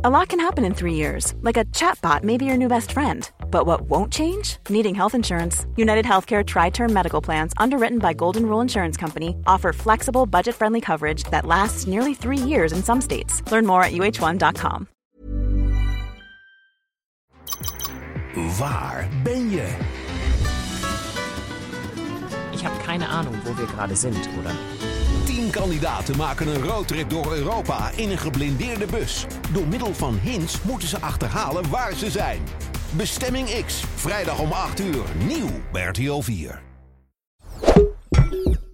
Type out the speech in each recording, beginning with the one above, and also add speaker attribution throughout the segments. Speaker 1: A lot can happen in three years, like a chatbot may be your new best friend. But what won't change? Needing health insurance. United Healthcare Tri Term Medical Plans, underwritten by Golden Rule Insurance Company, offer flexible, budget friendly coverage that lasts nearly three years in some states. Learn more at uh1.com.
Speaker 2: Waar ben je?
Speaker 3: Ich habe keine Ahnung, wo wir gerade sind, oder?
Speaker 2: Tien kandidaten maken een roadtrip door Europa in een geblindeerde bus. Door middel van hints moeten ze achterhalen waar ze zijn. Bestemming X, vrijdag om 8 uur, nieuw bij RTL 4.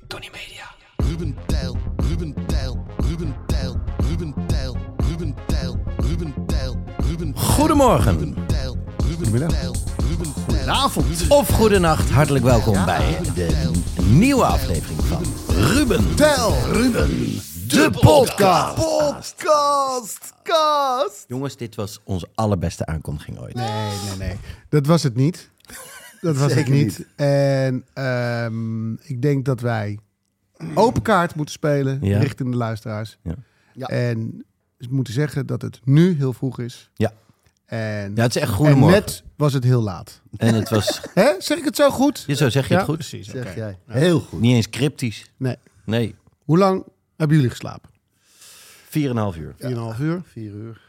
Speaker 2: Tony Media.
Speaker 4: Ruben Tijl, Ruben Tijl, Ruben Tijl, Ruben Tijl, Ruben Tijl, Ruben Tijl, Ruben Tijl.
Speaker 5: Goedemorgen.
Speaker 4: Ruben Tijl, Ruben Tijl, Ruben Tijl.
Speaker 5: Avond. Of goedenacht. Hartelijk welkom bij de nieuwe aflevering van Ruben.
Speaker 4: Tijl,
Speaker 5: Ruben. De podcast.
Speaker 4: Podcast, cast.
Speaker 5: Jongens, dit was onze allerbeste aankondiging ooit.
Speaker 4: Nee, nee, nee. Dat was het niet. Dat was het
Speaker 5: Zeker
Speaker 4: niet.
Speaker 5: niet.
Speaker 4: En ehm, ik denk dat wij open kaart moeten spelen
Speaker 5: Ja.
Speaker 4: richting de luisteraars.
Speaker 5: Ja.
Speaker 4: En we moeten zeggen dat het nu heel vroeg is.
Speaker 5: Ja.
Speaker 4: En,
Speaker 5: Ja, het is echt
Speaker 4: en
Speaker 5: goedemorgen.
Speaker 4: net was het heel laat.
Speaker 5: En het was...
Speaker 4: Hè? Zeg ik het zo goed?
Speaker 5: Ja, zo zeg je het goed?
Speaker 4: Zeg jij. Heel goed.
Speaker 5: Niet eens cryptisch.
Speaker 4: Nee.
Speaker 5: Nee.
Speaker 4: Hoe lang hebben jullie geslapen?
Speaker 5: 4,5 uur.
Speaker 4: 4,5 uur? 4 uur.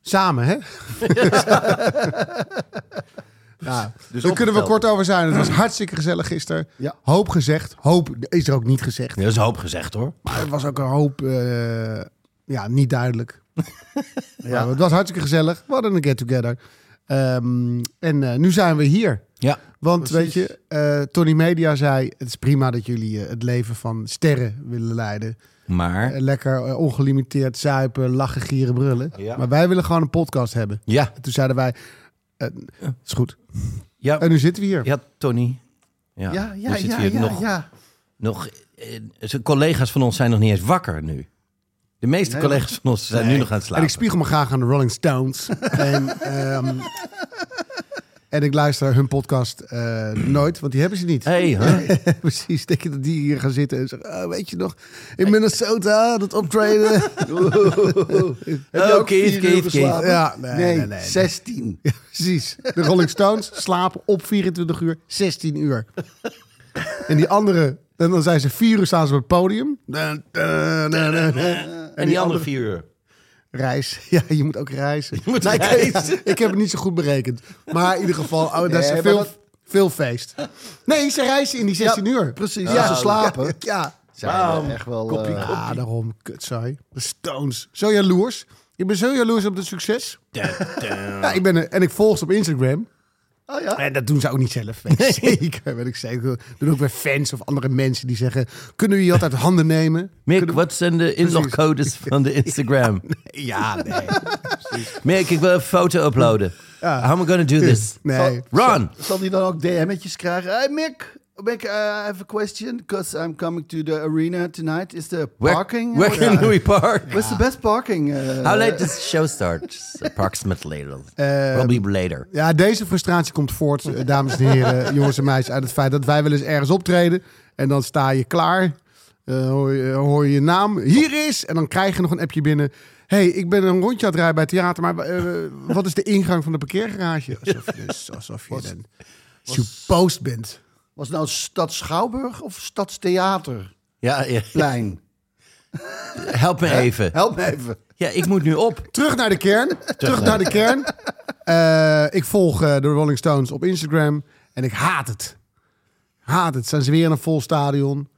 Speaker 4: Samen, hè? ja, dus daar kunnen we
Speaker 5: opgeteld.
Speaker 4: kort over zijn. Het was hartstikke gezellig gisteren.
Speaker 6: Ja.
Speaker 4: Hoop gezegd. Hoop is er ook niet gezegd.
Speaker 5: Dat is een hoop gezegd hoor.
Speaker 4: Maar er was ook een hoop eh, ja, niet duidelijk. ja. het was hartstikke gezellig. We hadden een get-together. Ehm, en eh, nu zijn we hier.
Speaker 5: Ja.
Speaker 4: Want weet je, eh, Tony Media zei... het is prima dat jullie eh, het leven van sterren willen leiden. Eh,
Speaker 5: Maar...
Speaker 4: Lekker eh, ongelimiteerd zuipen, lachen, gieren, brullen. Maar wij willen gewoon een podcast hebben.
Speaker 5: Ja.
Speaker 4: En toen zeiden wij, eh, het is goed.
Speaker 5: Ja,
Speaker 4: En nu zitten we hier.
Speaker 5: ja Tony. Ja,
Speaker 6: Ja, ja,
Speaker 5: We zitten
Speaker 6: ja,
Speaker 5: hier
Speaker 6: ja,
Speaker 5: nog,
Speaker 6: ja.
Speaker 5: nog... eh, zijn collega's van ons zijn nog niet eens wakker nu. De meeste collega's van ons zijn nu nog aan het
Speaker 4: En
Speaker 5: slapen.
Speaker 4: ik spiegel me graag aan de Rolling Stones. en, ehm, en ik luister hun podcast eh, nooit, want die hebben ze niet.
Speaker 5: Hey, hè?
Speaker 4: Precies, denk je dat die hier gaan zitten en zeggen... "Ah, weet je nog, in Minnesota, dat optreden.
Speaker 6: Heb je
Speaker 5: Oh,
Speaker 6: ook
Speaker 5: Kees,
Speaker 6: vier uur
Speaker 5: Kees,
Speaker 6: geslapen?
Speaker 4: ja, nee, nee,
Speaker 6: Nee,
Speaker 4: nee, nee.
Speaker 6: 16.
Speaker 4: Precies. De Rolling Stones slapen op 24 uur, 16 uur. En die andere, en dan zijn ze vier uur staan ze op het podium. En
Speaker 5: En die andere vier uur.
Speaker 4: reis. Ja, je moet ook reizen.
Speaker 5: moet
Speaker 4: Nou, ik-
Speaker 5: reizen.
Speaker 4: Ik, heb het niet zo goed berekend. Maar in ieder geval, oh, dat
Speaker 6: Nee,
Speaker 4: is
Speaker 6: maar
Speaker 4: veel,
Speaker 6: dat-
Speaker 4: veel feest. Nee, ze reizen in die 16 uur.
Speaker 6: precies.
Speaker 4: Ja,
Speaker 6: Ja, ze slapen.
Speaker 4: Ja, ja.
Speaker 6: Zijn we echt wel... eh,
Speaker 4: Ah, daarom, kutzooi. De Stones. Zo jaloers. Ik ben zo jaloers op het succes. Ja, ik ben er- en ik volg ze op Instagram.
Speaker 6: oh ja.
Speaker 4: En dat doen ze ook niet zelf. Weet ik Zeker, weet ik zeker. Dat doen ook weer fans of andere mensen die zeggen... kunnen we je altijd handen nemen?
Speaker 5: Mick, wat zijn de inlogcodes van de Instagram?
Speaker 4: Ja, nee.
Speaker 5: Mick, ik wil een foto uploaden. How am I gonna do this?
Speaker 4: Nee.
Speaker 5: Run!
Speaker 6: Zal die dan ook DM'tjes krijgen? Hey Mick, Mick, uh, I have a question. Because I'm coming to the arena tonight. Is the
Speaker 5: Where,
Speaker 6: parking...
Speaker 5: where
Speaker 4: Oh,
Speaker 5: can
Speaker 6: Ja.
Speaker 5: we park?
Speaker 6: Where's the best parking? eh,
Speaker 5: How late does the show start? Approximately. Probably later.
Speaker 4: Eh, Ja, deze frustratie komt voort, eh, dames en heren, jongens en meisjes... uit het feit dat wij wel eens ergens optreden... en dan sta je klaar, eh, hoor, je, hoor je je naam. Hier is! En dan krijg je nog een appje binnen... hey, ik ben een rondje aan het rijden bij het theater... maar eh, wat is de ingang van de parkeergarage? Alsof je, dus, alsof je dan supposed bent.
Speaker 6: Was het nou Stad Schouwburg of Stadstheaterplein?
Speaker 5: Ja, ja. help me even.
Speaker 6: Help me even.
Speaker 5: Ja, ik moet nu op.
Speaker 4: Terug naar de kern. Terug naar de kern. Eh, ik volg eh, de Rolling Stones op Instagram. En ik haat het. Haat het. Zijn ze weer in een vol stadion.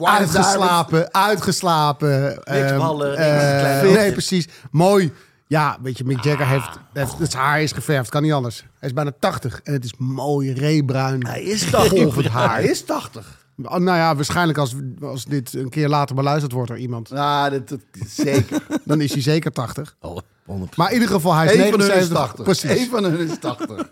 Speaker 4: Uitgeslapen. Uitgeslapen.
Speaker 5: Niks
Speaker 4: Ehm,
Speaker 5: ballen, niks
Speaker 4: eh,
Speaker 5: kleine
Speaker 4: nee,
Speaker 5: hoofd.
Speaker 4: precies. Mooi. Ja, weet je, Mick Jagger heeft, heeft... Het haar is geverfd. Kan niet anders. Hij is bijna 80. En het is mooi, reebruin. Hij
Speaker 6: is 80.
Speaker 4: Golvend haar.
Speaker 6: Hij is 80.
Speaker 4: Oh, Nou ja, waarschijnlijk als, als dit een keer later beluisterd wordt door iemand...
Speaker 6: Nou, dat, dat- zeker.
Speaker 4: dan is hij zeker 80.
Speaker 5: Oh, 100%.
Speaker 4: Maar in ieder geval, hij is
Speaker 6: Eén van hun is
Speaker 4: 79.
Speaker 6: 80.
Speaker 4: Precies.
Speaker 6: Eén van hun is 80.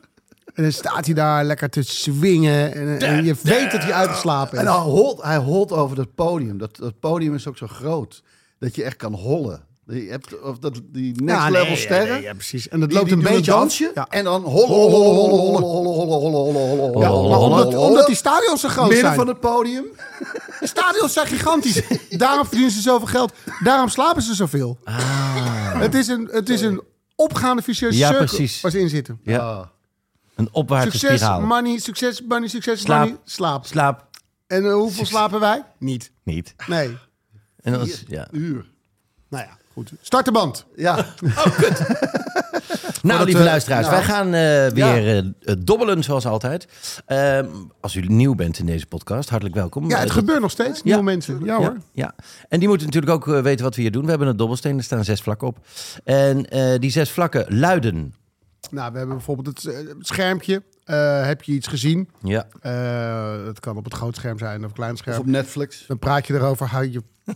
Speaker 4: En dan staat hij daar lekker te swingen. En, en je weet dat hij uitgeslapen is.
Speaker 6: En hij holt, hij holt over dat podium. Dat, dat podium is ook zo groot dat je echt kan hollen. Je hebt of dat, die next
Speaker 4: Ja, nee,
Speaker 6: level
Speaker 4: ja,
Speaker 6: sterren.
Speaker 4: nee, ja, precies. En dat
Speaker 6: die-
Speaker 4: loopt
Speaker 6: die
Speaker 4: een
Speaker 6: doen
Speaker 4: beetje
Speaker 6: dansje.
Speaker 4: af. Ja.
Speaker 6: En dan hollen, hollen, hollen, hollen, hollen, hollen, hollen, hollen, hollen,
Speaker 4: Ja,
Speaker 6: hollen,
Speaker 4: maar
Speaker 6: hollen,
Speaker 4: omdat,
Speaker 6: hollen,
Speaker 4: omdat die stadions zo groot
Speaker 6: Oh, midden
Speaker 4: zijn.
Speaker 6: van het podium.
Speaker 4: De
Speaker 6: Ah.
Speaker 4: stadions zijn gigantisch. Daarom verdienen ze zoveel geld. Daarom slapen ze zoveel. Het is een, het is een opgaande vicieuze
Speaker 5: Ja,
Speaker 4: cirkel
Speaker 5: precies.
Speaker 4: waar ze in zitten.
Speaker 5: Ja. Een opwaartse
Speaker 4: Succes,
Speaker 5: spiraal.
Speaker 4: money, succes, money, succes,
Speaker 5: Slaap.
Speaker 4: money, slaap.
Speaker 5: Slaap
Speaker 4: En eh, hoeveel slapen wij? Niet.
Speaker 5: niet.
Speaker 4: Nee.
Speaker 5: En als, ja.
Speaker 6: Uur.
Speaker 4: Nou ja, goed. Start de band.
Speaker 6: Ja,
Speaker 5: Nou, lieve
Speaker 4: we-
Speaker 5: luisteraars,
Speaker 4: nou.
Speaker 5: wij gaan eh, weer eh, eh, dobbelen zoals altijd. Ehm, als u nieuw bent in deze podcast, hartelijk welkom.
Speaker 4: Ja, het
Speaker 5: Eh,
Speaker 4: gebeurt nog steeds. Nieuwe mensen. Ja, hoor.
Speaker 5: Ja, en die moeten natuurlijk ook eh, weten wat we hier doen. We hebben een dobbelsteen, er staan zes vlakken op. En eh, die zes vlakken luiden.
Speaker 4: Nou, we hebben bijvoorbeeld het, eh, het schermpje. Eh, heb je iets gezien?
Speaker 5: Ja.
Speaker 4: Eh, het kan op het groot scherm zijn of een klein scherm.
Speaker 6: of op Netflix.
Speaker 4: Dan praat je erover. Hou je...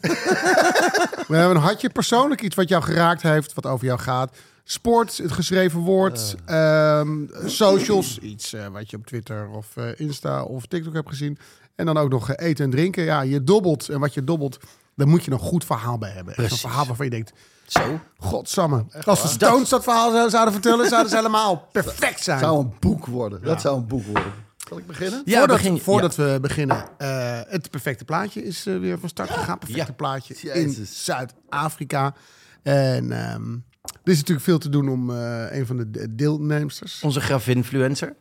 Speaker 4: we hebben, had je persoonlijk iets wat jou geraakt heeft, wat over jou gaat? Sport, het geschreven woord, ehm, socials, iets eh, wat je op Twitter of eh, Insta of TikTok hebt gezien. En dan ook nog eh, eten en drinken. Ja, je dobbelt. En wat je dobbelt, daar moet je een goed verhaal bij hebben. Echt Een verhaal waarvan je denkt,
Speaker 5: Zo.
Speaker 4: godsamme. Als de Stones dat verhaal zou- zouden vertellen, zouden ze helemaal perfect zijn.
Speaker 6: zou een boek worden. Dat zou een boek worden. Zal ik beginnen?
Speaker 5: Ja,
Speaker 4: voordat
Speaker 5: begin-
Speaker 4: voordat we beginnen, eh, het perfecte plaatje is eh, weer van start gegaan. Perfecte
Speaker 5: Ja.
Speaker 4: plaatje in
Speaker 6: Jezus.
Speaker 4: Zuid-Afrika. En ehm, er is natuurlijk veel te doen om eh, een van de de deelnemsters.
Speaker 5: Onze grafinfluencer.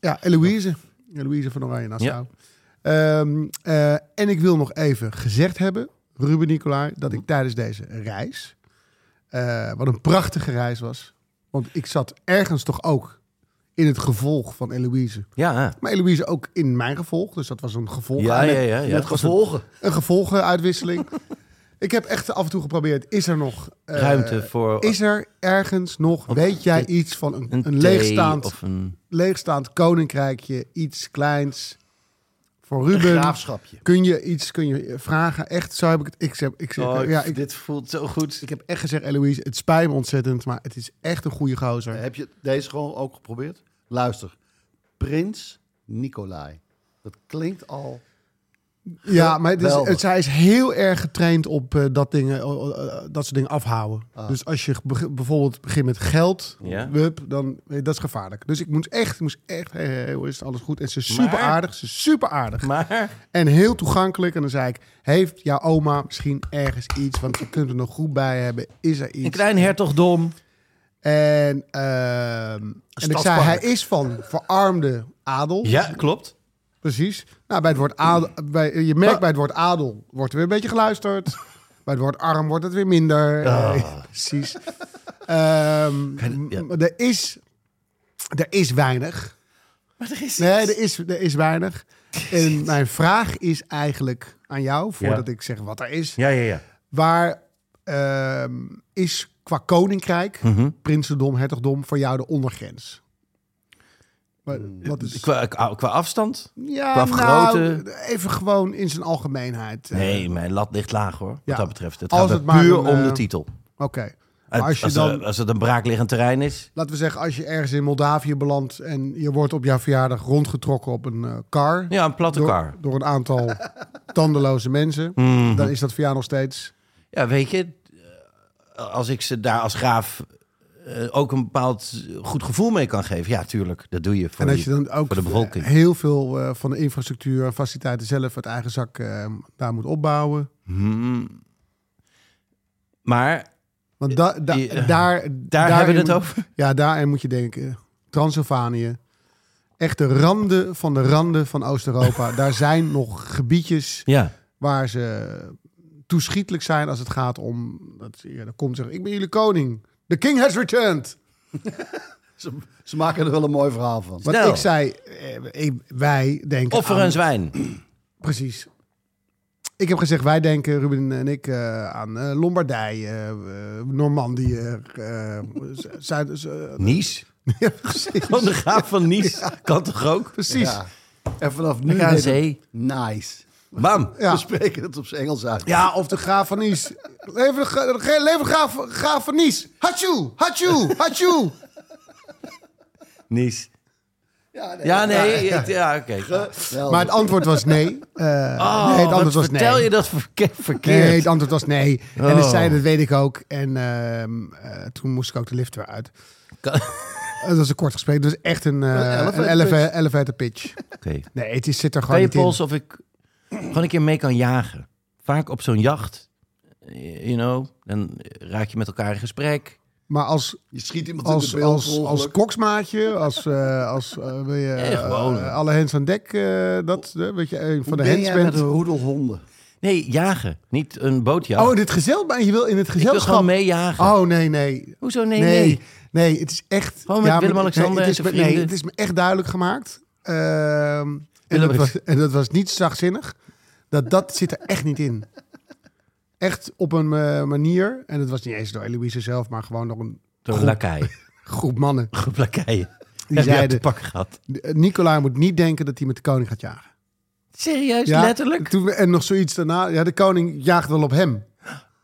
Speaker 4: Ja, Eloïse. Eloïse van Oranje Nassau. Ehm, eh, en ik wil nog even gezegd hebben, Ruben Nicolai, dat ik tijdens deze reis, eh, wat een prachtige reis was. Want ik zat ergens toch ook in het gevolg van Eloïse.
Speaker 5: Ja.
Speaker 4: Maar Eloïse ook in mijn gevolg. Dus dat was een gevolg.
Speaker 5: Ja,
Speaker 4: met-
Speaker 5: ja, ja, ja.
Speaker 4: met
Speaker 6: Gevolgen.
Speaker 4: Een gevolgenuitwisseling. ik heb echt af en toe geprobeerd. Is er nog... eh,
Speaker 5: Ruimte voor
Speaker 4: Is er ergens nog... weet jij
Speaker 5: een-
Speaker 4: iets van een, een,
Speaker 5: thee
Speaker 4: leegstaand,
Speaker 5: Of een...
Speaker 4: leegstaand koninkrijkje? Iets kleins voor Ruben?
Speaker 6: graafschapje.
Speaker 4: Kun je iets kun je vragen? Echt, zo heb ik het... Ik, zeg- ik, zeg-
Speaker 5: Oh,
Speaker 4: ja, ik,
Speaker 5: dit voelt zo goed.
Speaker 4: ik heb echt gezegd, Eloïse, het spijt me ontzettend... maar het is echt een goede gozer.
Speaker 6: Heb je deze gewoon ook geprobeerd? Luister. Prins Nicolai. Dat klinkt al...
Speaker 4: Ja, maar het is,
Speaker 6: Geweldig.
Speaker 4: het, zij is heel erg getraind op eh, dat, dingen, eh, eh, dat soort dingen afhouden. Dus als je beg- bijvoorbeeld begint met geld,
Speaker 5: Ah. Ja.
Speaker 4: wup, dan eh, dat is gevaarlijk. Dus ik moest echt, ik moest echt, hey, hey, hey, hoe is het alles goed? En ze is super aardig, ze is super aardig.
Speaker 5: Maar
Speaker 4: En heel toegankelijk. En dan zei ik, heeft jouw oma misschien ergens iets? Want je kunt er nog goed bij hebben. Is er
Speaker 5: een
Speaker 4: iets?
Speaker 5: klein hertogdom.
Speaker 4: En, ehm, en ik zei, hij
Speaker 6: stadspark.
Speaker 4: is van verarmde adel.
Speaker 5: Ja, klopt.
Speaker 4: Precies. Nou, bij het woord adel, bij, je merkt
Speaker 5: Ah.
Speaker 4: bij het woord adel wordt er weer een beetje geluisterd. bij het woord arm wordt het weer minder. Eh, precies. Ehm,
Speaker 5: Ah. ja.
Speaker 4: m- er, is, er is weinig.
Speaker 5: Maar er is
Speaker 4: Nee, er is, er is weinig. En mijn vraag is eigenlijk aan jou, voordat ik zeg wat er is.
Speaker 5: Ja, ja, ja.
Speaker 4: Waar ehm, is qua koninkrijk,
Speaker 5: Mhm.
Speaker 4: prinsendom, hertogdom, voor jou de ondergrens? Wa- Wat is...
Speaker 5: Qua, qua qua afstand?
Speaker 4: Ja,
Speaker 5: Eh, Qua
Speaker 4: nou,
Speaker 5: grootte?
Speaker 4: even gewoon in zijn algemeenheid. eh,
Speaker 5: Nee, mijn lat ligt laag hoor, wat
Speaker 4: Ja.
Speaker 5: dat betreft. Het
Speaker 4: Als
Speaker 5: gaat er
Speaker 4: het maar
Speaker 5: puur
Speaker 4: een,
Speaker 5: om de
Speaker 4: eh,
Speaker 5: titel.
Speaker 4: Oké.
Speaker 5: Als,
Speaker 4: Maar
Speaker 5: eh,
Speaker 4: als je
Speaker 5: er-
Speaker 4: dan,
Speaker 5: als het een braakliggend terrein is.
Speaker 4: laten we zeggen, als je ergens in Moldavië belandt en je wordt op jouw verjaardag rondgetrokken op een eh, car.
Speaker 5: Ja, een platte
Speaker 4: door,
Speaker 5: kar. Mhm.
Speaker 4: Door een aantal tandeloze mensen. Dan is dat voor jou nog steeds.
Speaker 5: Ja, weet je, eh, als ik ze daar als graaf eh, ook een bepaald goed gevoel mee kan geven. Ja, tuurlijk, dat doe je voor,
Speaker 4: En als
Speaker 5: die-
Speaker 4: je dan ook
Speaker 5: voor de bevolking.
Speaker 4: heel veel eh, van de infrastructuur en faciliteiten zelf uit eigen zak eh, daar moet opbouwen.
Speaker 5: Maar
Speaker 4: Want da- da-
Speaker 5: die, eh,
Speaker 4: daar,
Speaker 5: daar hebben we het
Speaker 4: ook.
Speaker 5: over.
Speaker 4: Ja, daarin moet je denken. Transylvanië. Echt de randen van de randen van Oost-Europa. daar zijn nog gebiedjes
Speaker 5: Ja,
Speaker 4: waar ze toeschietelijk zijn als het gaat om... Dat, ja, dan komt zeggen, ik ben jullie koning. The king has returned.
Speaker 6: Ze, ze maken er wel een mooi verhaal van.
Speaker 4: Want
Speaker 5: Nou.
Speaker 4: ik zei, eh, ik- wij denken
Speaker 5: of voor
Speaker 4: aan-
Speaker 5: een zwijn.
Speaker 4: Precies. Ik heb gezegd, wij denken, Ruben en ik, eh, aan eh, Lombardije, eh, eh, Normandië, eh, Zu- Zuid... Zu-
Speaker 5: Nice.
Speaker 4: Ja, precies.
Speaker 5: Gewoon de graaf van Nice. Kan toch ook?
Speaker 4: Precies.
Speaker 6: Ja. En vanaf nu
Speaker 5: ga aan
Speaker 6: heet het
Speaker 5: zee.
Speaker 6: Nice.
Speaker 5: Bam.
Speaker 4: Ja.
Speaker 6: We spreken het op zijn Engels uit.
Speaker 4: Ja, of de graaf van Nies. Leven de, gra- de ge- leven de graaf, graaf van Nies. Hachu, hachu, hachu.
Speaker 5: Nice.
Speaker 6: Ja, nee.
Speaker 5: Ja, nee. Ja, ja, oké.
Speaker 6: Wel,
Speaker 4: Maar het antwoord was nee. Eh,
Speaker 5: Oh,
Speaker 4: nee, het
Speaker 5: wat
Speaker 4: antwoord was
Speaker 5: vertel
Speaker 4: nee.
Speaker 5: je dat verke- verkeerd?
Speaker 4: Nee, het antwoord was nee. En dus
Speaker 5: Oh.
Speaker 4: zei, dat weet ik ook. En ehm, eh, toen moest ik ook de lift weer uit.
Speaker 5: Kan- Oké.
Speaker 4: Het was een kort gesprek. Het was echt een, eh,
Speaker 6: elevator
Speaker 4: een elevator, elevator pitch. Nee, het is, zit er gewoon
Speaker 5: Kan je
Speaker 4: niet in.
Speaker 5: polsen of ik gewoon een keer mee kan jagen? Vaak op zo'n jacht. eh, you know, dan raak je met elkaar in gesprek.
Speaker 4: Maar als,
Speaker 6: Je schiet iemand in
Speaker 4: als,
Speaker 6: de beeld
Speaker 4: als,
Speaker 6: per
Speaker 4: als
Speaker 6: ongeluk.
Speaker 4: koksmaatje, als, eh, als eh, wil je,
Speaker 5: Nee, gewoon.
Speaker 4: eh, alle hens aan dek, eh, dat, eh, weet je, een van
Speaker 6: Hoe
Speaker 4: de
Speaker 6: ben
Speaker 4: hens
Speaker 6: jij met
Speaker 4: bent.
Speaker 6: een roedel honden?
Speaker 5: Nee, jagen. Niet een bootjagen.
Speaker 4: Oh, dit gezelschap, je wil in het
Speaker 5: ik wil
Speaker 4: gezelschap.
Speaker 5: gewoon meejagen.
Speaker 4: Oh, nee, nee.
Speaker 5: Hoezo? Nee, nee.
Speaker 4: Nee, nee. het is echt...
Speaker 5: Gewoon met
Speaker 4: maar-
Speaker 5: Willem-Alexander
Speaker 4: nee,
Speaker 5: en
Speaker 4: het is
Speaker 5: zijn
Speaker 4: me- Nee,
Speaker 5: vrienden.
Speaker 4: het is me echt duidelijk gemaakt. Ehm, en, dat
Speaker 5: Willem-
Speaker 4: was, en dat was niet zachtzinnig. Dat, dat zit er echt niet in. Echt op een eh, manier. En dat was niet eens door Eloise zelf, maar gewoon door een
Speaker 5: Door
Speaker 4: groep-
Speaker 5: lakai.
Speaker 4: groep mannen.
Speaker 5: Groep lakaien. Die
Speaker 4: Die
Speaker 5: heb je op
Speaker 4: zeiden,
Speaker 5: te pakken gehad.
Speaker 4: eh, Nicolai moet niet denken dat hij met de koning gaat jagen.
Speaker 5: Serieus?
Speaker 4: Ja,
Speaker 5: Letterlijk?
Speaker 4: Toen, we- en nog zoiets daarna. Ja, de koning jaagt wel op hem.